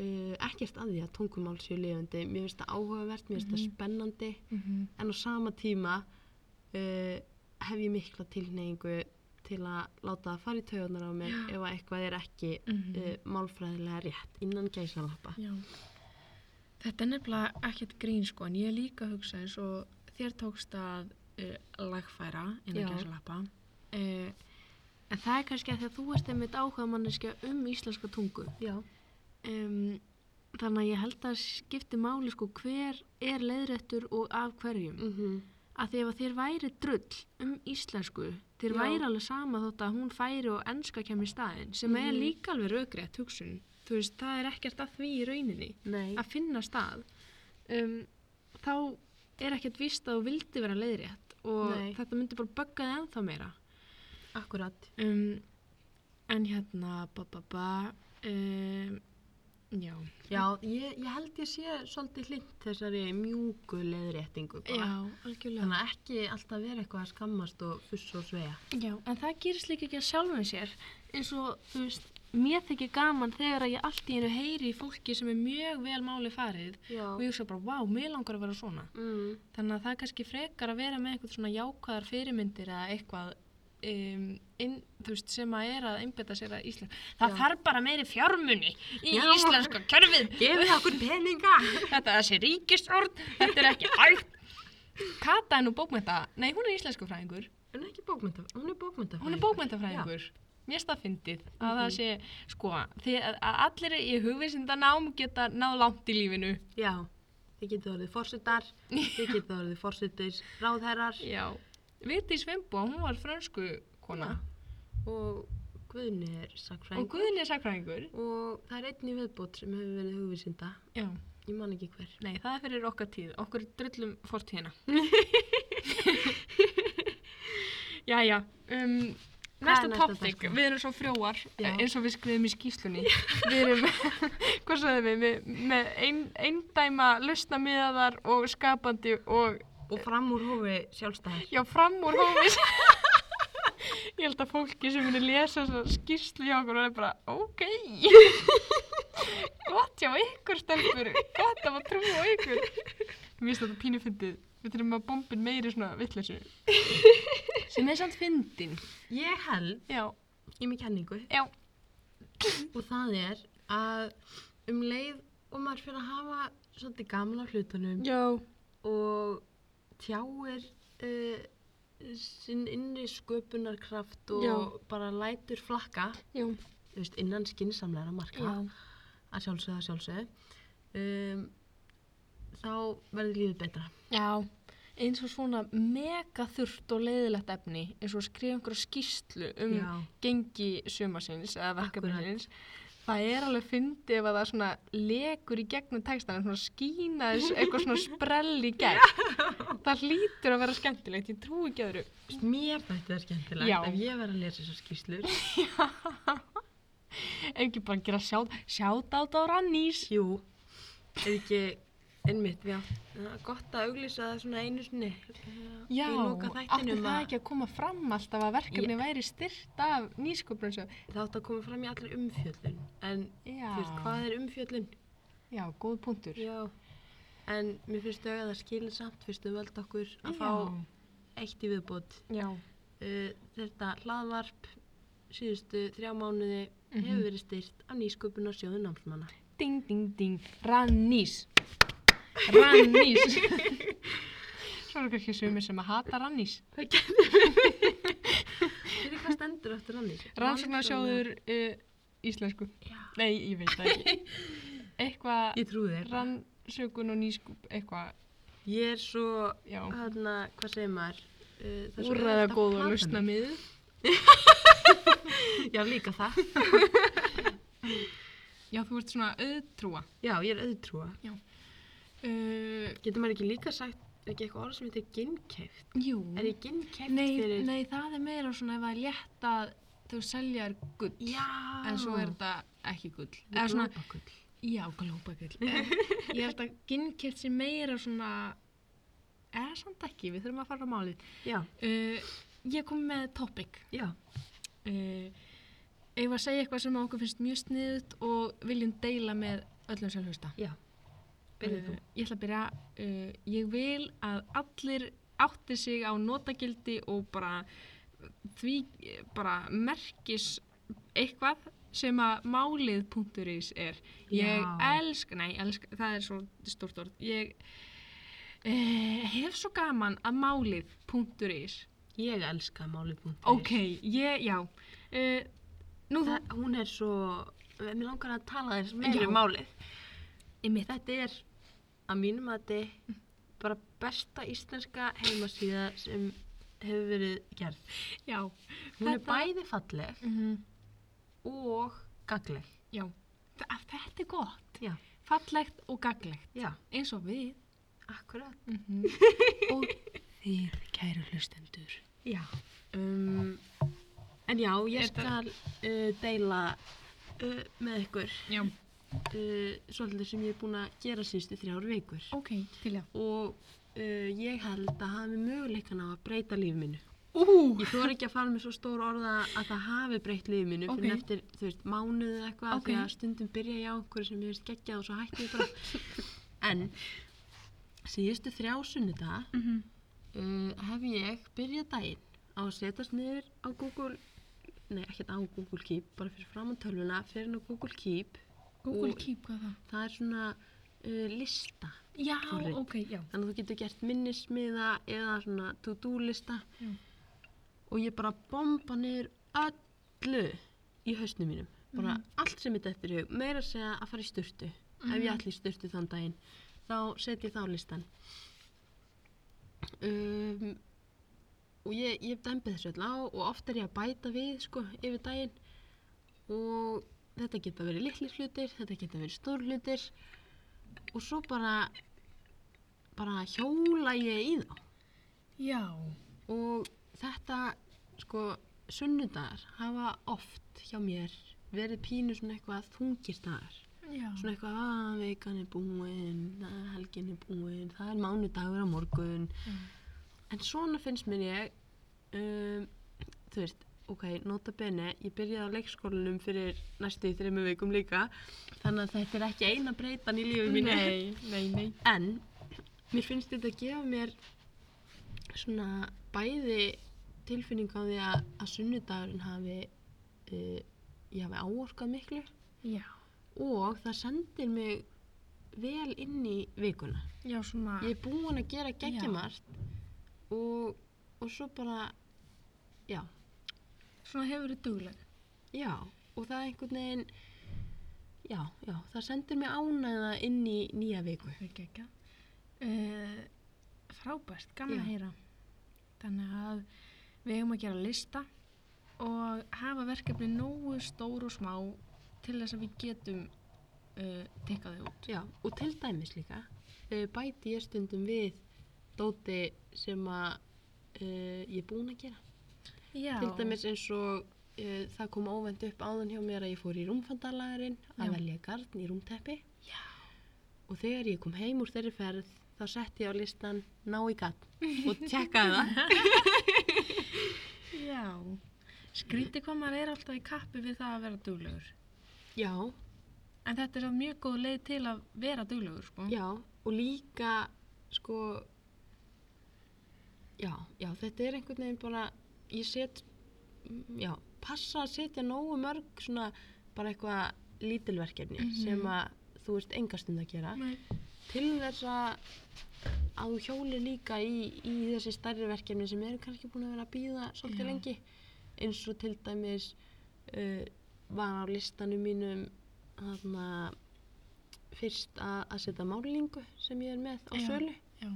B: uh, ekkert að því að tungumál séu lifandi, mér finnst það áhugavert, mér finnst það
A: Mhm.
B: spennandi
A: Mm -hmm.
B: en á sama tíma uh, hef ég mikla tilneyingu til að láta það fara í taugunar á mér
A: Já.
B: ef að eitthvað er ekki
A: Mhm.
B: uh, málfræðilega rétt innan gæsalappa.
A: Já. Þetta er nefnilega ekkert grín sko, en ég er líka að hugsa eins og þér tókst að uh, lagfæra
B: Já.
A: innan gæsalappa. Uh, en það er kannski að því að þú ert einmitt áhuga manneskja um íslenska tungu.
B: Já.
A: Um, þannig að ég held að skipti máli sko hver er leiðrættur og af hverjum.
B: Mm
A: Að því ef að þér væri drull um íslensku, þér
B: Já.
A: væri alveg sama þótt að hún færi og enska kemur í staðinn, sem er
B: Mhm.
A: líka alveg raugrétt hugsun. Þú veist, það er ekkert að því í rauninni
B: Nei.
A: að finna stað um, þá er ekkert víst að þú vildi vera leiðrétt og
B: Nei.
A: þetta myndi bara bögga þig ennþá meira
B: Akkurat.
A: um, en hérna ba ba ba um, já,
B: Já, ég, ég held ég sé svolítið hlind þessari mjúku leiðréttingu. bara.
A: já, algjörlega
B: Þannig að ekki alltaf vera eitthvað að skammast og fuss og sveja.
A: já, en það gerist líka ekki að sjálfum sér eins og, þú veist, mér þykir gaman þegar að ég allt í hennu heyri í fólki sem er mjög vel máli farið
B: Já.
A: og ég hugsa bara, vá, mér langar að vera svona
B: Mm.
A: Þannig að það er kannski frekar að vera með eitthvað svona jákvæðar fyrirmyndir eða eitthvað um, inn, þú veist, sem að er að einbetta sér að Ísland. Það
B: Já.
A: þarf bara meiri fjármunni í
B: Já.
A: íslenska kjörfið.
B: Gefið okkur peninga!
A: Þetta er þessi ríkistjórn, þetta er ekki hægt. Kata er nú bókmenta, nei hún er íslensku fræðingur,
B: Hún er ekki bókmynda, hún er bókmyndafræðingur.
A: hún er bókmentafræðingur. Mér staðfyndið að það sé, sko, því að að allir í hugvísindanám geta náð langt í lífinu.
B: Já. Já, þið getur orðið forsetar, þið getur orðið forsetir ráðherrar
A: Já. Viti Sveinbúa, hún var frönsku kona
B: og Guðni er
A: og
B: sakfræðingur.
A: Guðni er sakfræðingur.
B: Og, það er einn í viðbót sem hefur verið hugvísinda,
A: Já,
B: ég man ekki hver.
A: nei, það er fyrir okkar tíð, okkur drullum fortíðina. Jæja, um,
B: Hvað er
A: næsta
B: næsta
A: topic,
B: dagskrá?
A: við erum svo frjóar,
B: Já.
A: eh, eins og við skrifum í skýslunni. við erum, hvað sagðum við, með, með ein, eindæma, lausnamiðaðar og skapandi og,
B: Og fram úr hófi sjálfstæðir.
A: já, fram úr hófis. Ég held að fólki sem muni lesa þessa skýrslu hjá okkur er bara, ok, gott hjá ykkur stelpur, gott af að trúa á ykkur. Mér finnst þetta pínu fyndið. Við þurfum að bombin meiri svona vittleysu. Sem er samt fyndin.
B: Ég held,
A: Já,
B: ég er með kenningu,
A: já.
B: og það er að um leið og maður fyrir að hafa svolítið gamla hlutunum
A: Já.
B: og tjáir uh, sinn innri sköpunarkraft og
A: Já.
B: bara lætur flakka
A: Já.
B: þú veist, innan skinsamlega marka að sjálfsögðu að sjálfsögðu um, þá verður lífið betra
A: Já. Eins og svona mega þurft og leiðilegt efni, eins og að skrifa einhverja skýrslu um
B: Já.
A: gengi sumasins eða
B: Akkurat.
A: verkefnisins. Það er alveg fyndið ef að það svona lekur í gegnum textan, svona skína þess eitthvað svona sprell í gegn. Það hlýtur að vera skemmtilegt, ég trúi ekki öðru.
B: mér þetta er skemmtilegt
A: Já.
B: ef ég verð að lesa þessar skýrslur
A: Ef ekki bara gera sjátt sját á rannís.
B: jú, ef ekki einmitt, já Það er gott að auglýsa það svona einu sinni eh,
A: Já,
B: í loka
A: átti
B: þættinum
A: það ekki að koma fram alltaf að verkefni væri styrt af nýsköpunarsjóð.
B: það átt að koma fram í allir umfjöllun en
A: Já,
B: þú veist, hvað er umfjöllun?
A: já, góð punktur.
B: Já, en mér finnst þau að það skilir samt fyrst um völd okkur að
A: Já.
B: fá eitt í viðbót.
A: Já,
B: Uh, þetta hlaðvarp síðustu þrjá mánuði
A: Mhm.
B: hefur verið styrt af nýsköpun og sjóðu námsmanna.
A: ding, ding, ding, rannís. Rannís. Svo eru kannski sumir sem að hata rannís.
B: Það getur við. Hvað stendur eftir hann í?
A: Rannsóknarsjóður uh, íslensku.
B: Já.
A: Nei, ég veit það ekki. Eitthvað
B: Ég trúi þér.
A: rannsökun og nýskup, eitthvað,
B: Ég er svo,
A: já.
B: hérna, hvað segir maður? Uh, það er svo
A: Úrraða
B: auðvelt að
A: góð
B: plata
A: og
B: mig.
A: lusna miður.
B: Já, líka það.
A: Já, þú ert svona auðtrúa.
B: Já, ég er auðtrúa.
A: Uh,
B: Getur maður ekki líka sagt, er ekki eitthvað orð sem heitir ginnkeift?
A: jú.
B: Er ég ginnkeift fyrir...
A: Nei, nei, það er meira svona ef að létta þú seljar gull
B: Já.
A: en svo er þetta ekki gull eða
B: Eða
A: svona, já, glópa gull ég held að ginnkjöld sér meira svona eða samt ekki, við þurfum að fara á málið
B: Já,
A: uh, ég kom með topic
B: já.
A: uh, ef að segja eitthvað sem okkur finnst mjög sniðut og viljum deila með öllum sjálfhausta Eh.
B: Já. Byrjuð þú.
A: Ég ætla að byrja. Uh, ég vil að allir átti sig á notagildi og bara því eh, bara merkis eitthvað sem að málið.is er ég
B: Já.
A: elsk, nei, elsk, það er svo stórt orð ég e, hef svo gaman að málið.is
B: Ég elska málið.is.
A: ok, ég, já e, nú það,
B: Það, hún er svo, mér langar að tala þess meira
A: Já.
B: um málið.
A: ég mitt
B: Þetta er að mínum að þetta bara besta íslenska heimasíða sem hefur verið gerð.
A: já,
B: Hún
A: Þetta- Mhm.
B: er bæði falleg og gagleg.
A: já Þa, að þetta er gott,
B: Já,
A: fallegt og gaglegt
B: já,
A: eins og við
B: akkurat.
A: Mhm. og þið kæru hlustendur
B: Já. Um, en já, ég
A: Er það-
B: skal uh, deila uh, með ykkur
A: já,
B: uh, svolítið sem ég er búin að gera síðustu þrjár vikur.
A: ok, til já
B: Og uh, ég held að hafi möguleikan á að breyta líf minu.
A: ú,
B: Ég þóra ekki að fara með svo stór orða að það hafi breytt lífið mínu fyrir
A: Ok.
B: eftir, þú veist, mánuð eða eitthvað
A: Ok.
B: því að stundum byrja ég á einhverju sem ég veist geggjað og svo hætti ég bara en síðustu þrjá sunnuda
A: Mhm.
B: uh, hef ég byrjað daginn á að setjast niður á Google nei, ekkert á Google Keep, bara fyrir fram á tölvuna fyrir inn á Google Keep
A: Google
B: Og-
A: Keep, hvað er það?
B: það er svona uh, lista
A: já,
B: Forrit.
A: ok, já
B: þannig að þú getur gert minnismiða eða svona to-do lista
A: Já.
B: og ég bara bomba niður öllu í hausnum mínum bara
A: Mhm.
B: allt sem mitt eftir hug meira að segja að fara í sturtu ef ég
A: Mhm.
B: ætli í sturtu þann daginn þá set ég þá listan um, og ég, ég dæmbi þessu öll á og oft er ég að bæta við sko yfir daginn og þetta geta verið litli hlutir, þetta geta verið stór hlutir og svo bara bara hjóla ég í þá
A: já,
B: og þetta sko sunnudagar hafa oft hjá mér verið pínu svona eitthvað þungir dagar
A: já
B: svona eitthvað að vikan er búin að helgin er búin, það er mánudagur á morgun
A: Mm.
B: en svona finnst mér ég um, þú veist, ok, nota bene ég byrjaði á leikskólanum fyrir næstu í þrejum vikum líka þannig að þetta er ekki eina breytan í lífið mínu
A: nei, nei, nei
B: en mér finnst þetta að gefa mér svona bæði tilfinning á því að, að sunnudagurinn hafi uh, ég hafi áorkað miklu
A: já,
B: og það sendir mig vel inn í vikuna
A: já, svona
B: ég er búin að gera
A: Já.
B: geggjumarkt og, og svo bara já,
A: svona hefur verið dugleg
B: já og það er einhvern veginn já, já, það sendir mig ánæða inn í nýja viku
A: við gekka uh, frábært, gaman
B: Já.
A: að heyra þannig að við eigum að gera lista og hafa verkefni nógu stór og smá til þess að við getum uh, tekkað þau út
B: Já, og til dæmis líka uh, bæti ég stundum við dóti sem að uh, ég er búin að gera.
A: já,
B: Til dæmis eins og uh, það kom óvend upp áðan hjá mér að ég fór í rúmfandalagarinn
A: Já.
B: að velja garn í rúmteppi
A: já,
B: og þegar ég kom heim úr þeirri ferð þá setti ég á listan ná í garn og tjekkaði það.
A: já skrítið hvað maður er alltaf í kappi við það að vera duglegur
B: Já,
A: En þetta er samt mjög góð leið til að vera duglegur, sko.
B: já og líka sko já, já, þetta er einhvern veginn bara ég set mm, já, passa að setja nógu mörg svona bara eitthvað lítilverkefni
A: Mhm.
B: sem að þú ert engastund að gera
A: Nei.
B: til þess að að þú hjóli líka í, í þessi stærri verkefni sem eru kannski búin að vera að býða svolítið
A: Já.
B: lengi eins og til dæmis uh, var á listanum mínum þarna fyrst að, að setja málingu sem ég er með á
A: Já.
B: sölu
A: Já,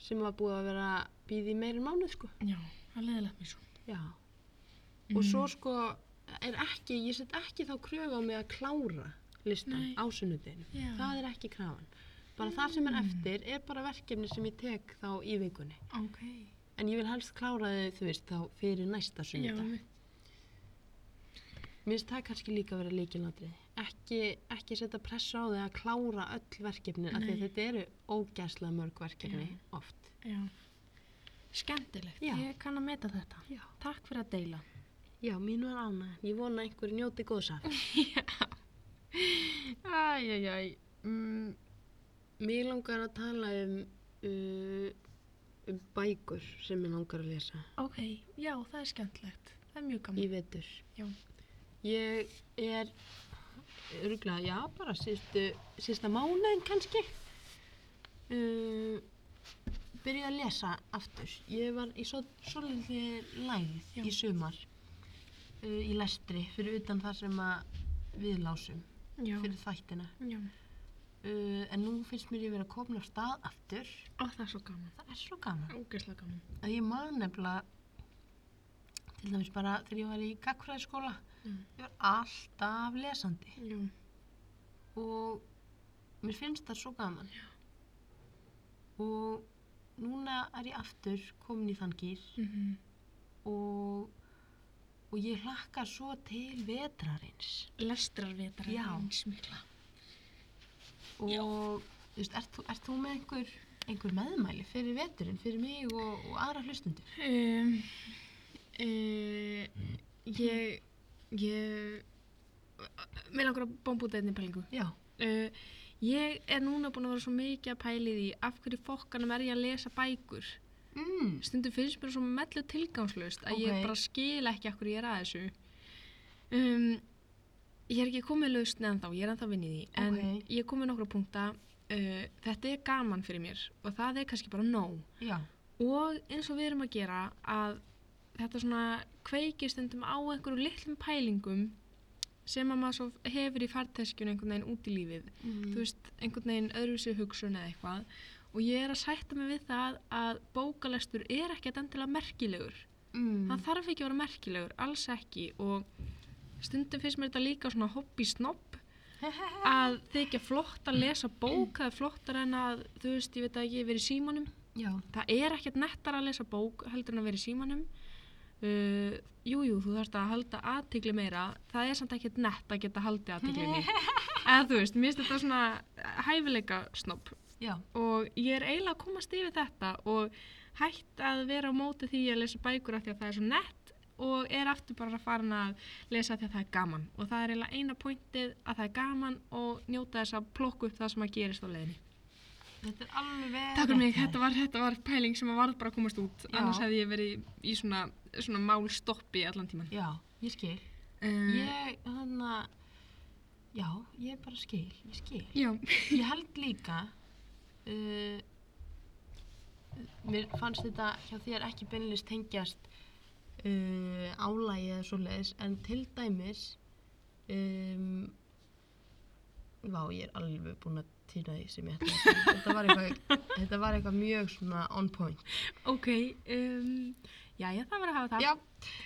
B: sem var búið að vera býði meira mánuð sko
A: já, það leiðilegt mér svo. Mhm.
B: Já. og svo sko er ekki, ég set ekki þá kröfu á mig að klára listan
A: Nei.
B: á sunnudeginu
A: Já.
B: það er ekki krafan bara það sem er eftir er bara verkefni sem ég tek þá í vikunni
A: Ok.
B: en ég vil helst klára þau þú veist þá fyrir næsta
A: Já,
B: sunnudag
A: mitt.
B: mér finnst það kannski líka að vera líkilandrið ekki, ekki setja pressa á þau að klára öll verkefni af því að
A: Nei.
B: þetta eru ógæslega mörg verkefni oft
A: Já. Skemmtilegt,
B: Já.
A: ég kann að meta þetta.
B: já,
A: Takk fyrir að deila.
B: já mín var ánæg ég vona að einhverju njóti góðs af
A: Æj, æj, æj. Mm,
B: Mér langar að tala um uh, um bækur sem ég langar að lesa
A: Ok, já, það er skemmtilegt. Það er mjög
B: í
A: gaman.
B: vetur.
A: Já.
B: Ég er örgulega, já, bara síðustu, síðusta mánuðin kannski uh, byrja að lesa aftur. Ég var í svo, svolítið lægð
A: Já.
B: í sumar uh, í lestri fyrir utan það sem að við lásum
A: Já,
B: fyrir þættina.
A: já.
B: Uh, en nú finnst mér ég vera komin á stað aftur.
A: Ó, það er svo gaman.
B: Það er svo gaman.
A: Ógeðslega gaman.
B: að ég man nefnilega til dæmis bara þegar ég var í gagfræðiskóla
A: Mm.
B: ég var alltaf lesandi
A: Já.
B: og mér finnst það svo gaman og núna er ég aftur komin í þann gýr
A: Mm
B: og, og ég hlakka svo til vetrarins
A: Lestrarvetar
B: Já.
A: eins mikla. Já.
B: og þú veist, ert þú, ert þú með einhver, einhver meðmæli fyrir veturinn, fyrir mig og, og aðra hlustundur?
A: Um, uh, ég, ég, mér langar að bomba út einni pælingu.
B: Já,
A: Uh, ég er núna búin að vera svo mikið að pæli því af hverju fokkanum er ég að lesa bækur.
B: mm.
A: Stundum finnst mér svo mellu tilgangslust að
B: Ókei.
A: ég bara skil ekki af hverju ég er að þessu. Um, ég er ekki komið lausn ennþá, ég er ennþá vinn í því. En
B: Ókei.
A: ég er komið nokkra punkta, uh, þetta er gaman fyrir mér og það er kannski bara nóg.
B: já,
A: og eins og við erum að gera að þetta svona kveikir stundum á einhverju litlum pælingum sem að maður svo hefur í farteskjun einhvern veginn út í lífið
B: mm.
A: þú veist, einhvern veginn öðruvísi hugsun eða eitthvað og ég er að sætta mig við það að bókalestur er ekkert endilega merkilegur
B: mm.
A: hann þarf ekki að vera merkilegur, alls ekki og stundum finnst mér þetta líka svona hobby-snopp að þykja flott að lesa bók það er flottar en að, þú veist, ég veit að ég verið í símanum
B: já,
A: það er ekkert nettar að lesa bók heldur en að vera í símanum uh, jújú, jú, þú þarfst að halda aðtikli meira það er samt ekkert nett að geta haldið aðtiklinni eða þú veist, mér finnst þetta svona hæfileika snopp
B: já
A: og ég er eiginlega að komast yfir þetta og hætt að vera á móti því að lesa bækur af því að það er svo nett og er aftur bara að fara að lesa af því að það er gaman og það er eiginlega eina pointið að það er gaman og njóta þess að plokka upp það sem að gerist á leiðinni
B: Þetta er alveg
A: Takk fyrir mig,
B: rétt hjá
A: þetta var, þetta var pæling sem að varð bara að komast út,
B: Já.
A: annars hefði ég verið í- í svona, svona málstoppi allan tíman.
B: þér. Já, ég skil
A: Um,
B: Ég, hann Já, ég bara skil, ég skil
A: Já,
B: Ég held líka uh, Mér fannst þetta hjá þér ekki beinlist tengjast uh, álægi eða svoleiðis en til dæmis um, Vá, ég er alveg búin að týna því sem ég ætla að segja. þetta var eitthvað, þetta var eitthvað mjög svona on point
A: ok, um, já, já, það var að hafa það.
B: Já,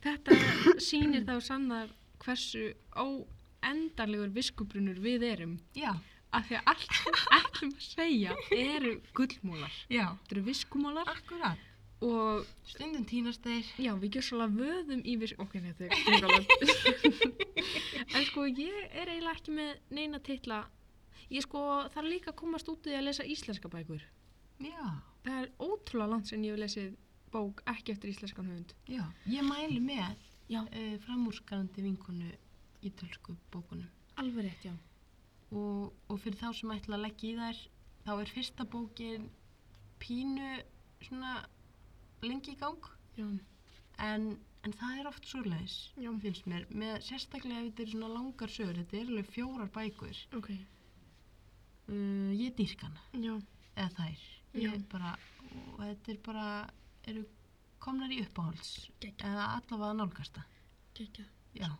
A: Þetta sýnir þá sannar hversu óendarlegur viskubrunur við erum,
B: já,
A: af því að allt sem við ætlum að segja eru gullmólar.
B: já
A: Þetta eru viskumólar
B: Akkurat
A: og
B: Stundum týnast þeir.
A: Já, við gjössalega vöðum yfir, ok, nei, þetta er gringalega. en sko, ég er eiginlega ekki með neina titla. Ég sko, þarf líka að komast út í að lesa íslenska bækur.
B: Já,
A: Það er ótrúlega langt sem ég hef lesið bók ekki eftir íslenskan höfund.
B: já. Ég mæli með
A: Já.
B: uh, framúrskarandi vinkonu í tölsku bókunum.
A: Alveg rétt, já.
B: Og, og fyrir þá sem ætla að leggja í þær, þá er fyrsta bókin pínu svona lengi í gang.
A: Já,
B: En, en það er oft svoleiðis,
A: Já.
B: finnst mér. Með, sérstaklega ef þetta er svona langar sögur, þetta er alveg fjórar bækur.
A: ok,
B: Uh, ég dýrk hana,
A: já,
B: eða þær.
A: Já.
B: Ég bara, og þetta er bara, eru komnar í uppáhalds.
A: Geggjað.
B: Eða allavega nálgasta.
A: gekkja.
B: Já.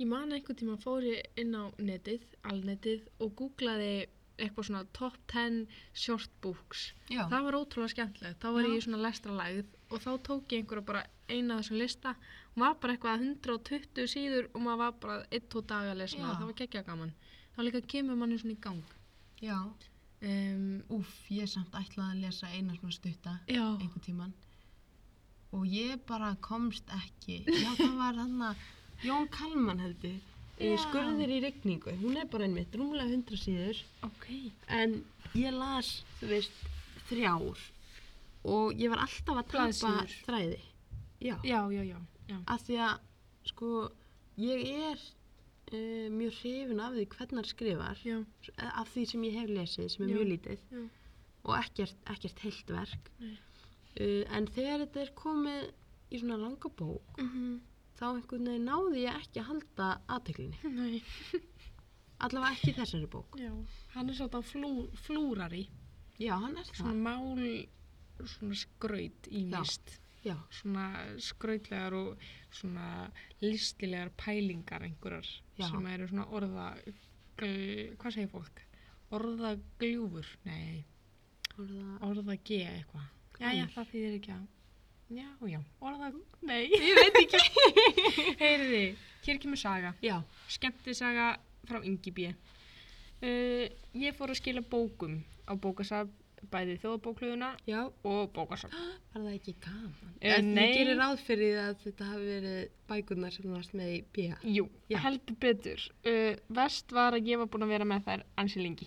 A: Ég man einhvern tíma fór ég inn á netið, alnetið og googlaði eitthvað svona top 10 short books.
B: Já.
A: Það var ótrúlega skemmtilegt. Þá var
B: Já.
A: ég í svona lestralægð og þá tók ég einhverja bara eina af þessum lista. Hún var bara eitthvað 120 síður og maður var bara 1-2 daga að lesa hana.
B: Já.
A: Það var geggja gaman. Þá líka kemur manni svona í gang.
B: Já.
A: Um,
B: Úf, ég samt ætlaði að lesa eina svona stutta
A: já,
B: einhvern tíman og ég bara komst ekki. Já, það var hann að Jón Kalman heldur.
A: Já.
B: Skurðir í regningu. Hún er bara einmitt rúmlega 100 síður
A: ok.
B: en ég las, þú veist, þrjár og ég var alltaf að tapa
A: Blaðsíður.
B: þræði. Já.
A: Já, já, já. já.
B: Af því að, sko, ég er uh, mjög hrifin af því hvernar skrifar
A: Já,
B: af því sem ég hef lesið sem er
A: Já.
B: mjög lítið
A: Já.
B: og ekkert, ekkert heilt verk
A: Nei.
B: Uh, en þegar þetta er komið í svona langa bók,
A: Mhm.
B: þá einhvern veginn náði ég ekki að halda aðteglinni.
A: Nei,
B: Allavega ekki í þessari bók.
A: já. Hann er svolítið flú, flúrari.
B: Já, hann er
A: Svona
B: það.
A: mál, svona skraut í
B: Já.
A: mist.
B: Já,
A: Svona skrautlegar og svona listilegar pælingar einhverjar
B: Já.
A: sem eru svona orða, gl, hvað segir fólk? Orðagljúfur, nei,
B: orða...
A: orðagé eitthvað. Já, já, það þýðir ekki að, já, já, orða, nei.
B: Ég veit ekki.
A: Heyriði, hér kemur saga.
B: Já,
A: skemmtisaga frá Ingibí. Uh, ég fór að skila bókum á bókasafn, bæði þjóðabóklöðuna
B: já,
A: og bókasafn.
B: var það ekki gaman?
A: Eh,
B: en
A: nei.
B: ég gerir ráð fyrir að þetta hafi verið bækurnar sem þú varst með í B.A.
A: Jú,
B: Já.
A: heldur betur. Uh, vest var að ég var búin að vera með þær ansi lengi.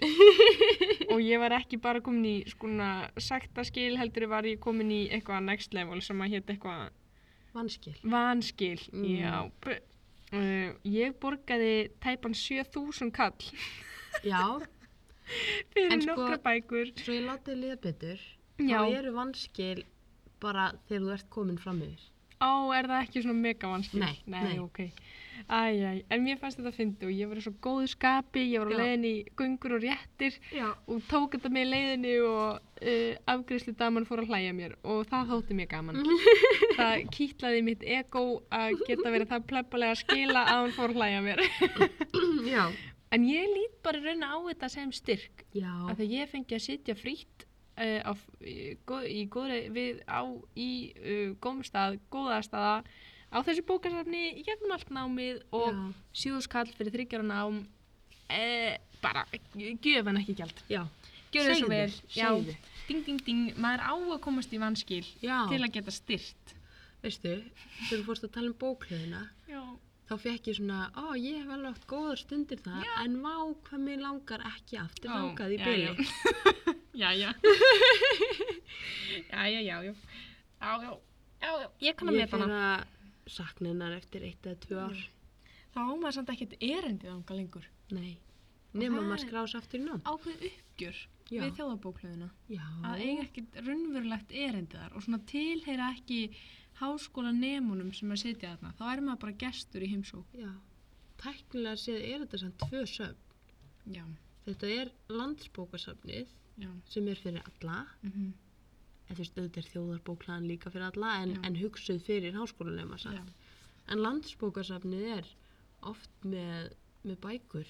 A: og ég var ekki bara komin í skona sektaskil, heldur var ég komin í eitthvað next level sem að hétt eitthvað
B: Vanskil.
A: vanskil.
B: Mm.
A: Já, b- uh, ég borgaði tæpan 7000 kall
B: Já,
A: fyrir
B: En sko-
A: nokkra bækur.
B: svo ég láti þér liða betur.
A: Já.
B: Þá eru vanskil bara þegar þú ert komin fram yfir.
A: Á, er það ekki svona mega vanskil?
B: Nei, nei.
A: ok. Æj, æj, en mér fannst þetta fyndi og ég var í svo góðu skapi, ég var á
B: Já.
A: leiðinni í göngur og réttir
B: Já.
A: og tók þetta með í leiðinni og uh, afgriðslu daman fór að hlæja mér og það þótti mér gaman. það kýtlaði mitt ego að geta verið það pleppalega að skila að hann fór að hlæja mér.
B: Já.
A: en ég lít bara raun á þetta sem styrk
B: Já.
A: að því ég fengi að sitja frýtt uh, á, f- í, gó- í góðri við á í uh, gómstað, góðastaða á þessu bókasafni í gegnum allt námið og
B: Já.
A: síðuskall fyrir þryggjara nám uh, bara, gjöf en ekki gjald
B: Já.
A: gjör það svo vel,
B: Segðu, segðu.
A: já, ding ding ding maður á að komast í vanskil
B: Já.
A: til að geta styrt
B: Veistu, þegar þú fórst að tala um bókliðina,
A: já,
B: þá fekk ég svona, ó, ég hef alveg átt góðar stundir það, en vá, hvað mér langar ekki aftur
A: Ó,
B: þangað í
A: já, já.
B: byli.
A: já, já já, já, já já, já, já, já, já. ég kann að
B: Ég
A: meta hana
B: fyrir að sakna hennar eftir eitt eða tvö ár.
A: þá á maður samt ekkert erindið ánga lengur.
B: Nei, nema
A: það
B: maður
A: er-
B: skrás aftur í nám.
A: Ákveð uppgjör
B: Já.
A: við þjóðabóklöðuna.
B: Já,
A: Að eiga ekkert raunverulegt erindi þar og svona tilheyra ekki háskóla nemunum sem er sitja þarna. Þá er maður bara gestur í heimsók.
B: já. Tæknilega séð er þetta samt tvö söfn.
A: Já,
B: Þetta er landsbókasöfnið
A: já.
B: sem er fyrir alla,
A: Mm -hmm.
B: en þú veist, auðvitað er þjóðarbóklaðan líka fyrir alla, en,
A: Já.
B: en hugsuð fyrir háskólanema samt. En landsbókasafnið er oft með, með bækur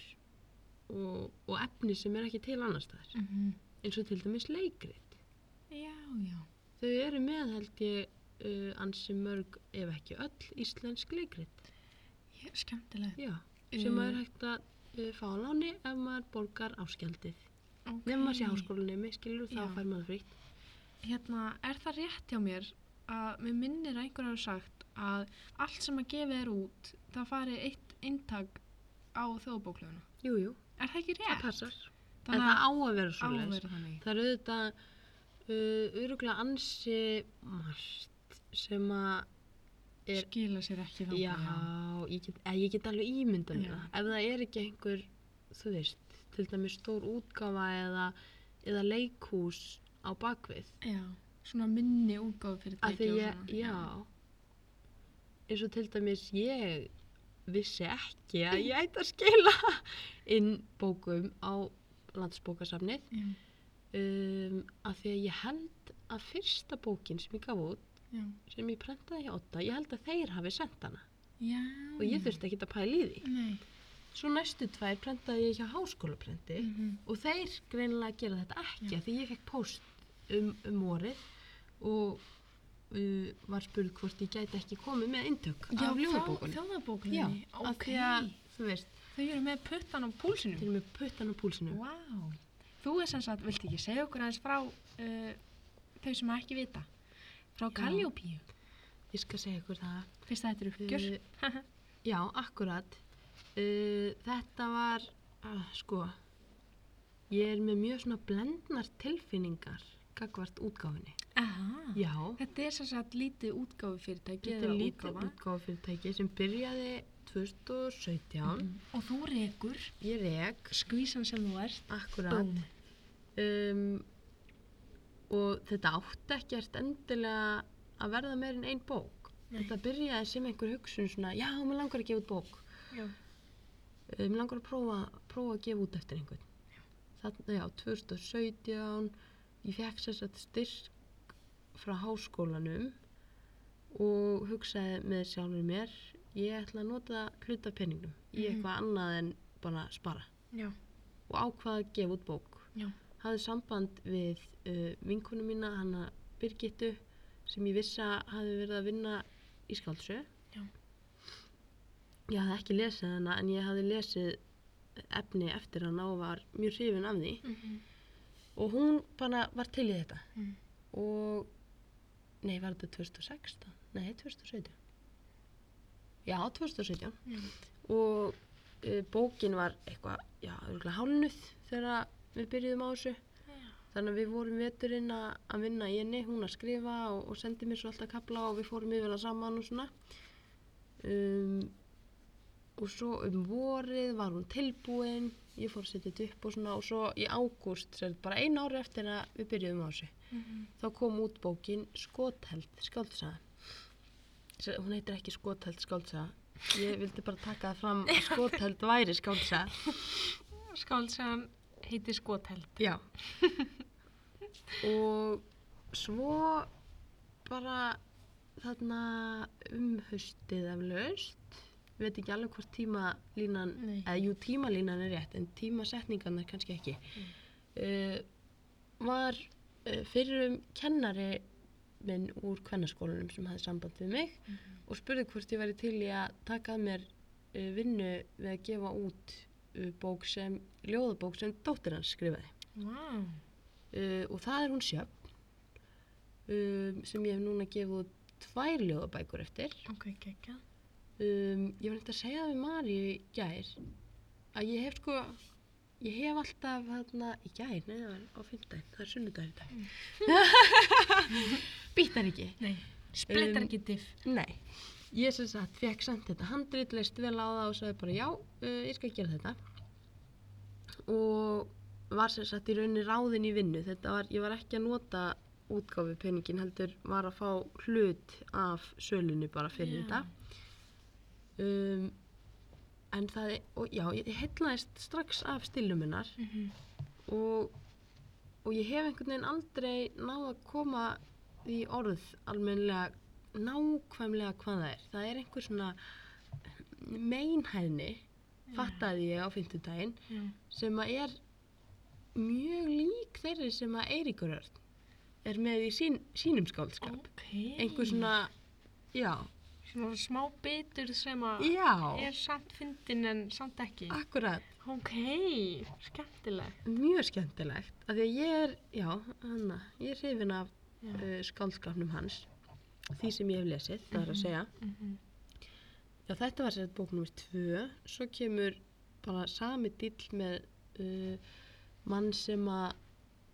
B: og, og efni sem er ekki til annars staðar.
A: Mm -hmm.
B: Eins og til dæmis leikrit.
A: já, já.
B: Þau eru með, held ég, uh, ansi mörg, ef ekki öll, íslensk leikrit.
A: Ég er skemmtileg.
B: Já, sem
A: Mm.
B: maður hægt að uh, fá á láni ef maður borgar áskjaldið.
A: Okay.
B: Nefnum maður sé háskólanemi, skilur, þá
A: Já.
B: fær maður fritt.
A: Hérna, er það rétt hjá mér að mér minnir að einhver hafa sagt að allt sem að gefa er út, það fari eitt eintak á þjóðabóklöðuna.
B: Jú, jú,
A: Er það ekki rétt?
B: það passar. En
A: Þannig
B: það
A: að
B: á að vera
A: á
B: svo
A: að vera þannig.
B: Það eru auðvitað uh, öruglega ansi margt sem að er-
A: skila sér ekki þá
B: Já, ég get, eh, ég get alveg ímynda mér
A: Já.
B: það. Ef það er ekki einhver, þú veist, til dæmis stór útgafa eða, eða leikhús á bakvið.
A: já, svona minni útgáðu fyrir
B: Af því
A: tæki og svona.
B: ég, já, eins og til dæmis ég vissi ekki að ég ætti að skila inn bókum á landsbókasafnið.
A: Já,
B: Um, af því að ég held að fyrsta bókin sem ég gaf út,
A: já,
B: sem ég prentaði hjá Otta, ég held að þeir hafi sendt hana.
A: já.
B: Og
A: Mm.
B: ég þurfti ekki að pæla í því.
A: Nei.
B: Svo næstu tvær prentaði ég hjá háskólaprenti
A: mhm,
B: og þeir greinilega gera þetta ekki
A: Já.
B: af því ég fekk post um, um orðið og uh, var spurð hvort ég gæti ekki komið með inntök
A: Já,
B: af
A: þá-
B: ljóðabókunum.
A: þjóðabókunni.
B: Já, af
A: ok.
B: því að, þú veist,
A: Þau eru með puttan á púlsinum.
B: til og með puttan á púlsinu.
A: Vá. Þú er sem sagt, viltu ekki segja okkur aðeins frá uh, þau sem að ekki vita? Frá Kalljópíu.
B: Ég skal segja ykkur það.
A: Fyrst þetta eru uppgjör.
B: Uh, já, akkurat. Uh, þetta var, uh, sko, ég er með mjög svona blendnar tilfinningar gagvart útgáfinni.
A: Ah. Aha.
B: Já.
A: Þetta er sem sagt lítið útgáðu fyrirtæki.
B: Þetta er
A: eða
B: lítið
A: útgáfa.
B: útgáfafyrirtæki sem byrjaði 2017.
A: Mhm. Og þú rekur,
B: Ég rek,
A: skvísan sem þú ert.
B: akkurat. Um, og þetta átti ekkert endilega að verða meir en ein bók
A: Nei.
B: þetta byrjaði sem einhver hugsun svona, já, mér langar að gefa út bók
A: já,
B: Eh, mér langar að prófa, prófa að gefa út eftir einhvern þarna, já, 2017 ég fekk sér satt styrk frá háskólanum og hugsaði með sjálfur mér ég ætla að nota hluta af peningnum í
A: Mhm.
B: eitthvað annað en bara spara
A: já,
B: og ákvaða að gefa út bók.
A: Já.
B: Hafði samband við uh, vinkonu mína, hanna Birgittu, sem ég vissi að hafði verið að vinna í skáldsö.
A: Já.
B: Ég hafði ekki lesið hana en ég hafði lesið efni eftir hana og var mjög hrifin af því.
A: mhm,
B: Og hún bara var til í þetta.
A: Mm.
B: Og, nei, var þetta 2016? Nei, 2017. Já, 2017
A: já,
B: og uh, bókin var eitthvað, já, örgulega hálnuð þegar við byrjuðum á þessu
A: já,
B: þannig að við vorum veturinn að, að vinna í henni, hún að skrifa og, og sendi mér svo alltaf kapla og við fórum yfir það saman og svona um, og svo um vorið var hún tilbúin ég fór að setja þetta upp og svona og svo í ágúst, sem sagt bara einu ári eftir að við byrjuðum á þessu
A: mhm,
B: þá kom út bókin Skotheld skáldsaga Sem- hún heitir ekki Skotheld skáldsaga ég vildi bara taka það fram að Skotheld væri skáldsaga
A: skálsagan heitir skoteld
B: já og svo bara þarna umhaustið af laust við veit ekki alveg hvort tímalínan
A: Nei.
B: eða jú tímalínan er rétt en tímasetningarnar kannski ekki uh, var uh, fyrrum kennari minn úr kvennaskólanum sem hafði samband við mig og spurði hvort ég væri til í að taka að mér uh, vinnu við að gefa út uh, bók sem, ljóðabók sem dóttir hans skrifaði
A: wow.
B: uh, og það er hún Sjöfn um, sem ég hef núna gefið út tvær ljóðabækur eftir
A: ok, gekkja
B: um, ég var neitt að segja það við Maríu í gær að ég hef sko ég hef alltaf hérna í gær, nei það var á fimmtudaginn það er sunnudaginn í dag mm. býtnar ekki
A: nei, splittar
B: Um,
A: ekki diff
B: nei, ég sem sagt fekk samt þetta handrit, leist vel á það og sagði bara já, uh, ég skal gera þetta og var sem sagt í rauninni ráðin í vinnu þetta var, ég var ekki að nota útgáfi peningin heldur var að fá hlut af sölunni bara
A: Já.
B: fyrir þetta um, en það og já, ég hellaðist strax af stiluminnar
A: Mhm.
B: og, og ég hef einhvern veginn aldrei náð að koma í orð almennilega nákvæmlega hvað það er það er einhver svona meinhæðni fattaði ég á fimmtudaginn
A: já,
B: sem að er mjög lík þeirri sem að Eiríkur Örn er með í sín, sínum skáldskap
A: ok
B: einhver svona já,
A: svona smá bitur sem að
B: já,
A: er samt fyndin en samt ekki
B: akkurat
A: ok, skemmtileg
B: mjög skemmtilegt af því að ég er, já, hana, ég er hrifin af
A: Já.
B: uh, skáldskapnum hans því sem ég hef lesið, það er að segja
A: Mhm.
B: já, þetta var sér bók nr. 2 svo kemur bara sami dill með uh, mann sem að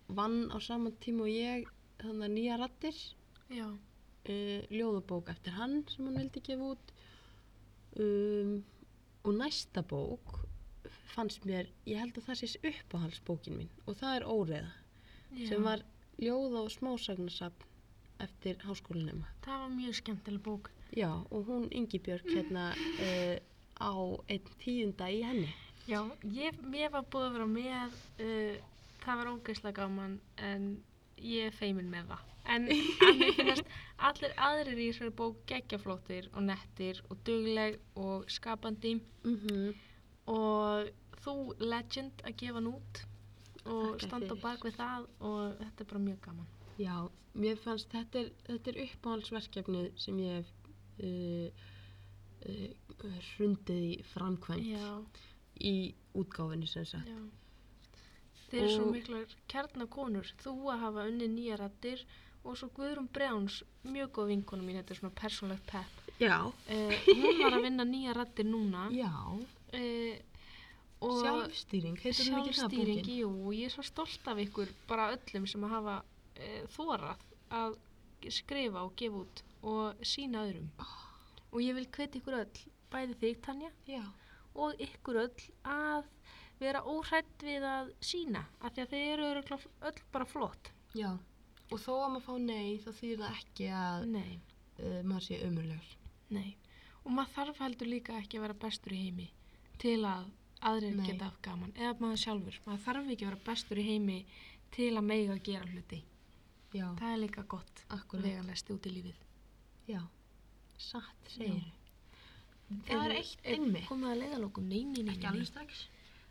B: vann á sama tíma og ég þannig að nýja rattir
A: já,
B: uh, ljóðabók eftir hann sem hann vildi gefa út um, og næsta bók fannst mér, ég held að það sé uppáhaldsbókin mín og það er Óreða
A: já.
B: sem var ljóða og smásagnasafn eftir háskólinema.
A: það var mjög skemmtileg bók
B: Já, og hún Ingibjörg hérna uh, á einn tíunda í henni.
A: já, ég, mér var búið að vera með uh, það var ógeðslega gaman en ég er feimin með það en að mér finnast allir aðrir í þessari bók geggjaflóttir og nettir og dugleg og skapandi
B: Mm -hmm.
A: og þú legend að gefa hann út og
B: Þakka
A: standa á
B: fyrir.
A: bak við það og þetta er bara mjög gaman
B: Já, mér fannst þetta er, þetta er uppáhaldsverkefnið sem ég hef uh, uh, hrundið í framkvæmt
A: já,
B: í útgáfinni sem sagt.
A: já þeir eru svo
B: Og-
A: miklar kjarnakonur þú að hafa unni nýja rættir og svo Guðrún Brjáns, mjög góð vinkona mín þetta er svona persónlegt pepp
B: Já,
A: uh, hún var að vinna nýja rættir núna
B: já,
A: uh, og
B: sjálfstýring, heitir hún ekki það
A: sjálfstýring,
B: bókin?
A: jú, og ég er svo stolt af ykkur, bara öllum sem að hafa uh, þórað að skrifa og gefa út og sína öðrum. Ah. Og ég vil hvetja ykkur öll, bæði þig Tanja
B: Já,
A: og ykkur öll að vera óhrætt við að sína, af því að þið eru örugglega öll bara flott.
B: já, Og þó að maður fá nei, þá þýðir það ekki að
A: Nei,
B: uh, maður sé umurlegur.
A: nei. Og maður þarf heldur líka ekki að vera bestur í heimi til að aðrir
B: Nei.
A: geta haft gaman. Eða maður sjálfur. Maður þarf ekki að vera bestur í heimi til að mega gera hluti.
B: Já,
A: Það er líka gott
B: akkurat.
A: veganlesti út í lífið.
B: Já, satt
A: segirðu.
B: Það er eitt einmi.
A: Komið að leiðalokum, nei, nei, nei, nei,
B: strax.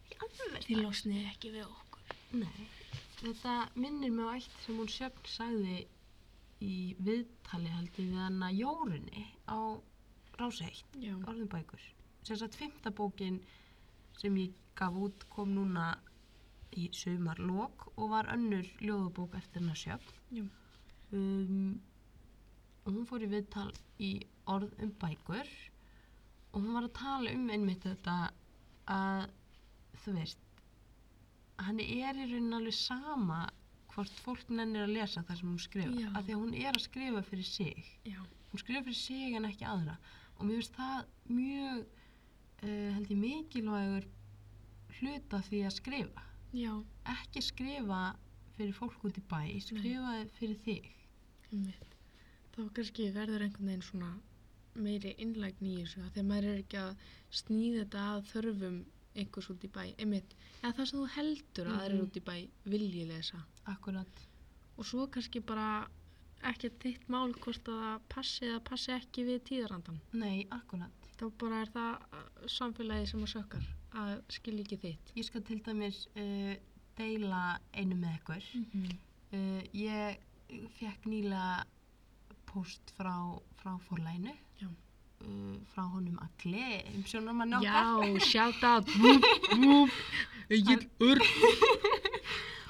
B: Ekki alveg
A: nei. Þið losnið ekki við okkur.
B: Nei, þetta minnir mig á eitt sem hún sjöfn sagði í viðtali heldur við hann að Jórunni á Ráseitt,
A: Já.
B: orðum bækur. Sem sagt, fymta bókin sem ég gaf út kom núna í sumarlok og var önnur ljóðabók eftir hennar sjöfn.
A: Já.
B: Um, og hún fór í viðtal í orð um bækur og hún var að tala um einmitt þetta að þú veist hann er í raunin alveg sama hvort fólk nennir að lesa það sem hún skrifar
A: Já.
B: af því að hún er að skrifa fyrir sig
A: Já.
B: hún skrifar fyrir sig en ekki aðra og mér finnst það mjög uh, held ég mikilvægur hluta því að skrifa
A: Já.
B: ekki skrifa fyrir fólk út í bæ skrifa fyrir þig
A: Einmitt. Þá kannski verður einhvern veginn svona meiri innlægni í þessu af því að maður er ekki að snýða þetta að þörfum einhvers út í bæ einmitt, eða það sem þú heldur að aðrir
B: Mhm.
A: út í bæ vilji lesa
B: akkurat
A: og svo kannski bara ekki þitt mál hvort að það passi eða passi ekki við tíðarandan
B: nei, akkurat
A: þá bara er það uh, samfélagið sem að sökkar að skilja ekki þitt
B: ég skal til dæmis uh, deila einu með ykkur
A: -hmm.
B: Uh, ég fekk nýlega post frá, frá forlæinu
A: Já.
B: uh, frá honum Agli um sjónarmann okkar
A: Já, shout out vúp, vúp, Egill Örn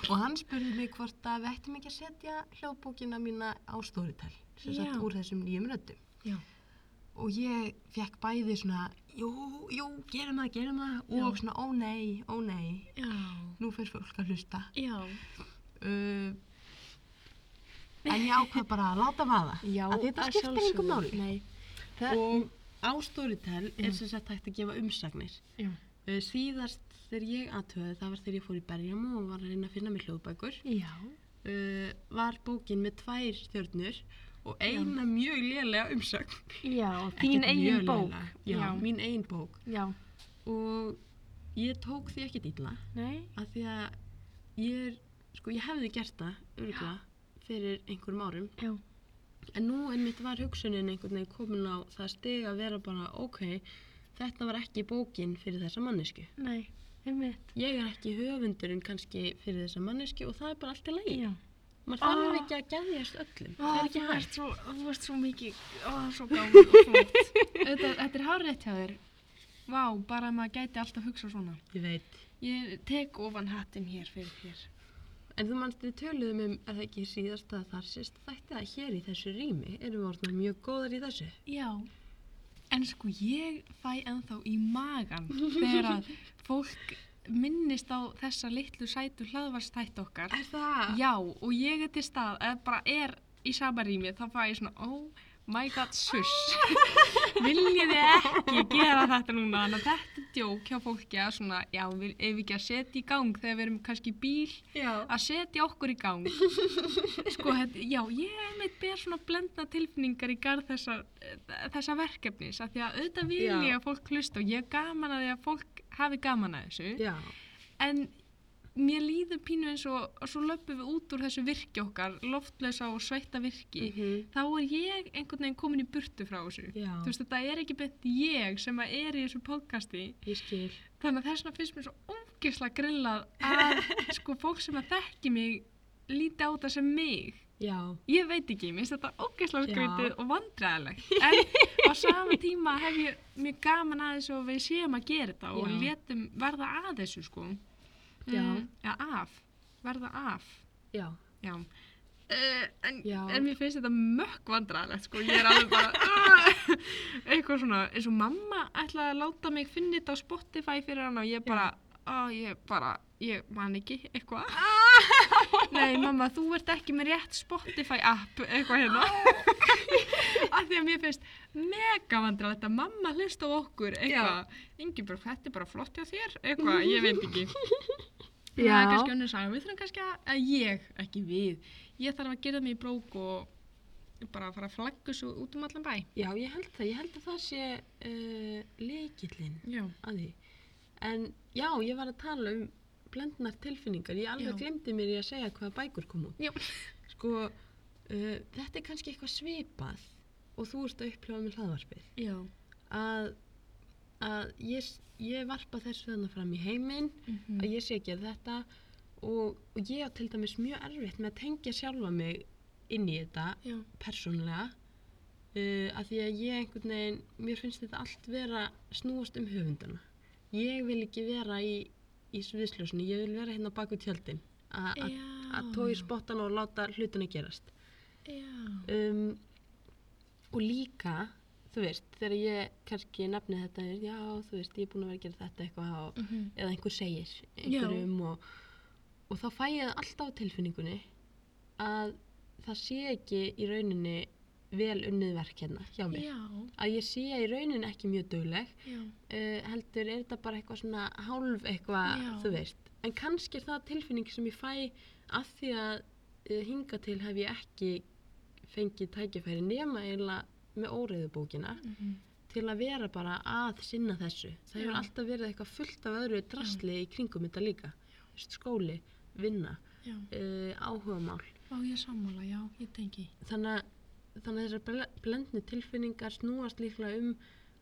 B: og hann spurði mig hvort að við ættum ekki að setja hljóðbókina mína á stórital sem sagt
A: Já.
B: úr þessum nýjum röddum
A: Já.
B: og ég fekk bæði svona jú, jú, gerum það, gerum það og
A: Já.
B: svona ó nei, ó nei
A: Já,
B: nú fer fólk að hlusta
A: já,
B: uh, en ég ákvað bara að láta vaða
A: já
B: Að þetta skiptir engu
A: sjálfsögðu.
B: máli.
A: Nei,
B: Það, og á Storytel
A: Já.
B: er sem sagt hægt að gefa umsagnir.
A: Já.
B: Uh, síðast þegar ég aðtöði, það var þegar ég fór í Berjum og var að reyna að finna mér hljóðbækur,
A: Já,
B: uh, var bókin með tvær stjörnur og eina mjög lélega umsagn.
A: já,
B: Ekkert mjög lélega. Já, mín eigin bók.
A: Já,
B: Og ég tók því ekkert illa
A: nei,
B: af því að ég er, sko ég hefði gert það örgulega fyrir einhverjum árum
A: já,
B: En nú einmitt var hugsunin einhvern veginn komin á það stig að vera bara, ok, þetta var ekki bókin fyrir þessa mannesku.
A: nei, einmitt.
B: Ég er ekki höfundurinn kannski fyrir þessa mannesku og það er bara allt í lagi.
A: Já.
B: Maður þarf
A: Ah.
B: ekki að geðjast öllum.
A: Ó,
B: það er ekki
A: þú
B: hægt.
A: ert svo, þú ert svo mikið, ó, það er svo gáð og flott. þetta, þetta er hárétt hjá þér. Vá, bara að maður gæti alltaf hugsa svona.
B: Ég veit.
A: Ég tek ofan hattin hér fyrir hér.
B: En þú mannst við töluðum um að það ekki síðast að þar sérst þætti að hér í þessu rými erum við orðin mjög góðar í þessu.
A: Já, en sko ég fæ ennþá í magan þegar að fólk minnist á þessa litlu sætu hlaðvarstætt okkar.
B: Er það?
A: Já, og ég er til stað, eða bara er í sama rými, þá fæ ég svona, oh my god, suss. Viljið þið ekki gera þetta núna? Þannig að þetta er djók hjá fólki að svona, já, við, ef við ekki að setja í gang þegar við erum kannski í bíl,
B: Já.
A: að setja okkur í gang. Sko, þetta, já, ég er meitt ber svona blendna tilfinningar í garð þessa, þessa verkefnis, af því að auðvitað vil
B: Já.
A: ég að fólk hlusta og ég er gaman að því að fólk hafi gaman að þessu
B: Já.
A: en mér líður pínu eins og og svo löpum við út úr þessu virki okkar loftlösa og sveita virki
B: Mhm.
A: þá er ég einhvern veginn komin í burtu frá þessu
B: Já.
A: þú veist þetta er ekki beint ég sem að er í þessu podcasti
B: Ég skil.
A: þannig að þess vegna finnst mér svo ógisla grillað að sko fólk sem að þekki mig líti á þetta sem mig
B: Já.
A: ég veit ekki, mér finnst þetta ógisla
B: Já.
A: grillið og vandræðilegt en á sama tíma hef ég mjög gaman að þessu og við séum að gera þetta og
B: Já.
A: letum verða að þessu sko
B: Já.
A: Mm, Já, af. Verða af.
B: Já.
A: Já. Uh, en,
B: Já.
A: en mér finnst þetta mökk vandræðilegt, sko. Ég er alveg bara, "Ah!" eitthvað svona, eins og mamma ætlaði að láta mig finna þetta á Spotify fyrir hann og ég bara, á, ég bara, ég man ekki, eitthvað.
C: Ah!
A: Nei, mamma, þú ert ekki með rétt Spotify app, eitthvað hérna. Af því að mér finnst mega vandræðilegt að mamma hlusta á okkur, eitthvað. Ingi bara, þetta er bara flott hjá þér, eitthvað, ég veit ekki.
C: En það
B: Já.
C: er kannski önnur saga, við þurfum kannski að, að ég, ekki við, ég þarf að gera mig í brók og bara að fara að flaggu svo út um allan bæ.
B: Já, ég held það, ég held að það sé uh, leikillin
C: Já.
B: að því. En já, ég var að tala um blendnar tilfinningar, ég alveg
C: Já.
B: glemdi mér í að segja hvaða bækur kom út.
C: Já.
B: Sko, uh, þetta er kannski eitthvað svipað og þú ert að upplifa með hlaðvarpið.
C: Já.
B: Að, að ég, ég varpa þessu þannig fram í heiminn,
C: Mhm.
B: að ég sé ekki að þetta og, og ég á til dæmis mjög erfitt með að tengja sjálfa mig inn í þetta
C: Já.
B: persónlega uh, að því að ég einhvern veginn mér finnst þetta allt vera snúast um höfundana ég vil ekki vera í, í sviðsljósinu, ég vil vera hérna á baku tjöldin a- a- að tói spottan og láta hlutina gerast
C: Já.
B: um, og líka þú veist, þegar ég kannski nefni þetta, já þú veist, ég er búin að vera að gera þetta eitthvað og
C: Mhm.
B: eða einhver segir einhverjum og, og þá fæ ég það alltaf á tilfinningunni að það sé ekki í rauninni vel unnið verk hérna hjá mér.
C: Já.
B: Að ég sé í rauninni ekki mjög dögleg,
C: Já.
B: uh, heldur er þetta bara eitthvað svona hálf eitthvað,
C: Já.
B: þú veist. En kannski er það tilfinning sem ég fæ af því að uh, hinga til hef ég ekki fengið tækifæri nema eiginlega með óreiðubókina
C: Mhm.
B: til að vera bara að sinna þessu. Það hefur
C: Já.
B: alltaf verið eitthvað fullt af öðru drasli í kringum þetta líka. Þú veist, Skóli, vinna,
C: Já.
B: uh, áhugamál.
C: Á ég er sammála, já, ég tengi.
B: Þannig að, þannig að þessar ble- blendnu tilfinningar snúast líklega um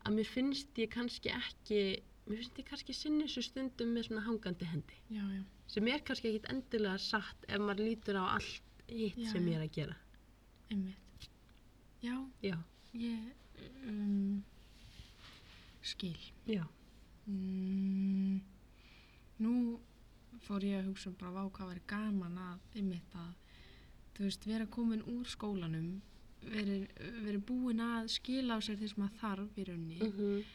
B: að mér finnst ég kannski ekki, mér finnst ég kannski sinni þessu stundum með svona hangandi hendi.
C: Já, já.
B: Sem er kannski ekkit endilega satt ef maður lítur á allt hitt
C: Já,
B: sem
C: já.
B: ég er að gera.
C: Einmitt. Já,
B: Já,
C: ég um, skil.
B: já,
C: Mm, nú fór ég að hugsa um bara vá hvað væri gaman að einmitt að þú veist, vera komin úr skólanum verið, verið búin að skila á sér því sem maður þarf í raunni
B: mm -hmm.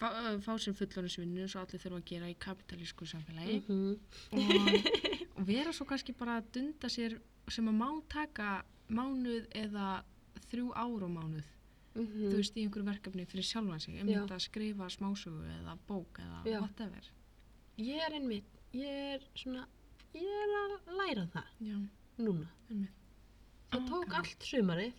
C: fá, ö, fá sér fullorðinsvinnu eins og allir þurfa að gera í kapitalísku samfélagi
B: Mm -hmm.
C: og, og vera svo kannski bara að dunda sér sem að má taka mánuð eða þrjú ár á mánuð
B: Mhm.
C: þú veist, í einhverju verkefni fyrir sjálfan sig einmitt
B: Mm. Já.
C: að skrifa smásögu eða bók eða
B: Já.
C: whatever
B: Ég er einmitt, ég er svona, ég er að læra það
C: Já,
B: núna.
C: einmitt.
B: Það
C: Ó,
B: tók
C: gaman.
B: allt sumarið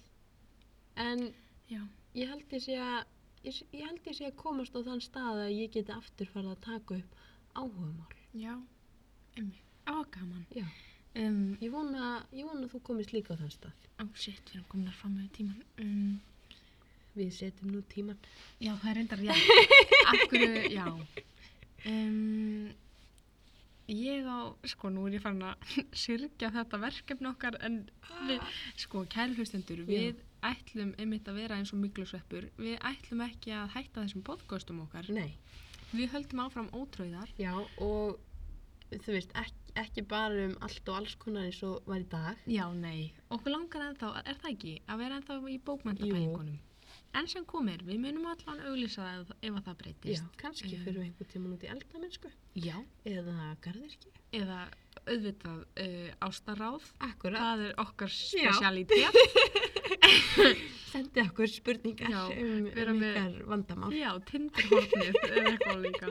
B: en
C: Já,
B: ég held ég sé að ég, s- ég held ég sé að komast á þann stað að ég geti aftur farið að taka upp áhugamál.
C: já, einmitt. Á, gaman.
B: Já.
C: Um,
B: Ég vona, ég vona að þú komist líka á þann stað.
C: á, shit, við erum komin að fram með tíman. Um,
B: Við setjum nú tíman.
C: já, það er reyndar rétt. Af hverju, já. Um, ég á, sko, nú er ég farin að syrgja þetta verkefni okkar, en við, sko, kæri hlustendur, við ætlum einmitt að vera eins og myglusveppur. Við ætlum ekki að hætta þessum podcastum okkar.
B: Nei,
C: Við höldum áfram ótröðar.
B: já og þú veist ekki, ekki bara um allt og alls konar eins og var í dag.
C: Já, nei. Okkur langar ennþá, er það ekki, að vera ennþá í bókmyndapælingunum. En sem komir, við munum allan auglýsa það ef- ef að það
B: Já,
C: breytist.
B: kannski
C: Eh.
B: fyrir við einhver tíman út í eldamennsku
C: Já.
B: eða garðirki.
C: Eða auðvitað uh, ástaráð.
B: Akkurat.
C: Það er okkar spesialitet.
B: sendi okkur spurningar
C: Já,
B: um,
C: vera
B: um
C: með-
B: ykkar vandamál.
C: Já, tindirhornið er eitthvað líka.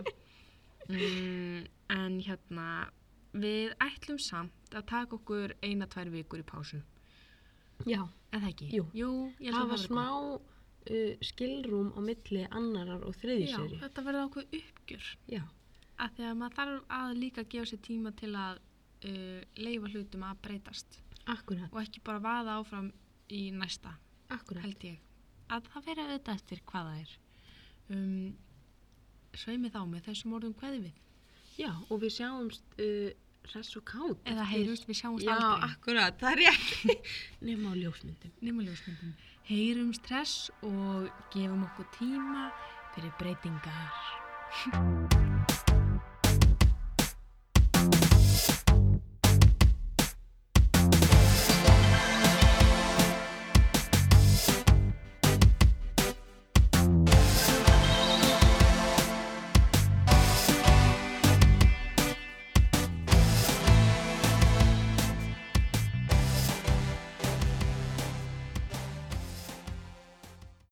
C: Mm, en hérna, við ætlum samt að taka okkur eina, tvær vikur í pásu.
B: Já,
C: Er það ekki?
B: Jú.
C: Jú, ég held að
B: hafa
C: verði
B: smá uh, skilrúm á milli annarar og
C: gott.
B: þriði
C: Já,
B: seri.
C: þetta verði okkur uppgjör.
B: Já,
C: að því að maður þarf að líka gefa sér tíma til að uh, leifa hlutum að breytast
B: akkurat,
C: og ekki bara vaða áfram í næsta,
B: akkurat.
C: held ég að það vera auðvitað eftir hvað það er um, sveimi þá með þessum orðum hverði við
B: Já, og við sjáumst uh, hress og kátt.
C: eða
B: eftir-
C: heyrumst við sjáumst
B: Já,
C: aldrei
B: akkurat, það er rétt. Nefn á ljósmyndum.
C: nema ljósmyndum heyrumst stress og gefum okkur tíma fyrir breytingar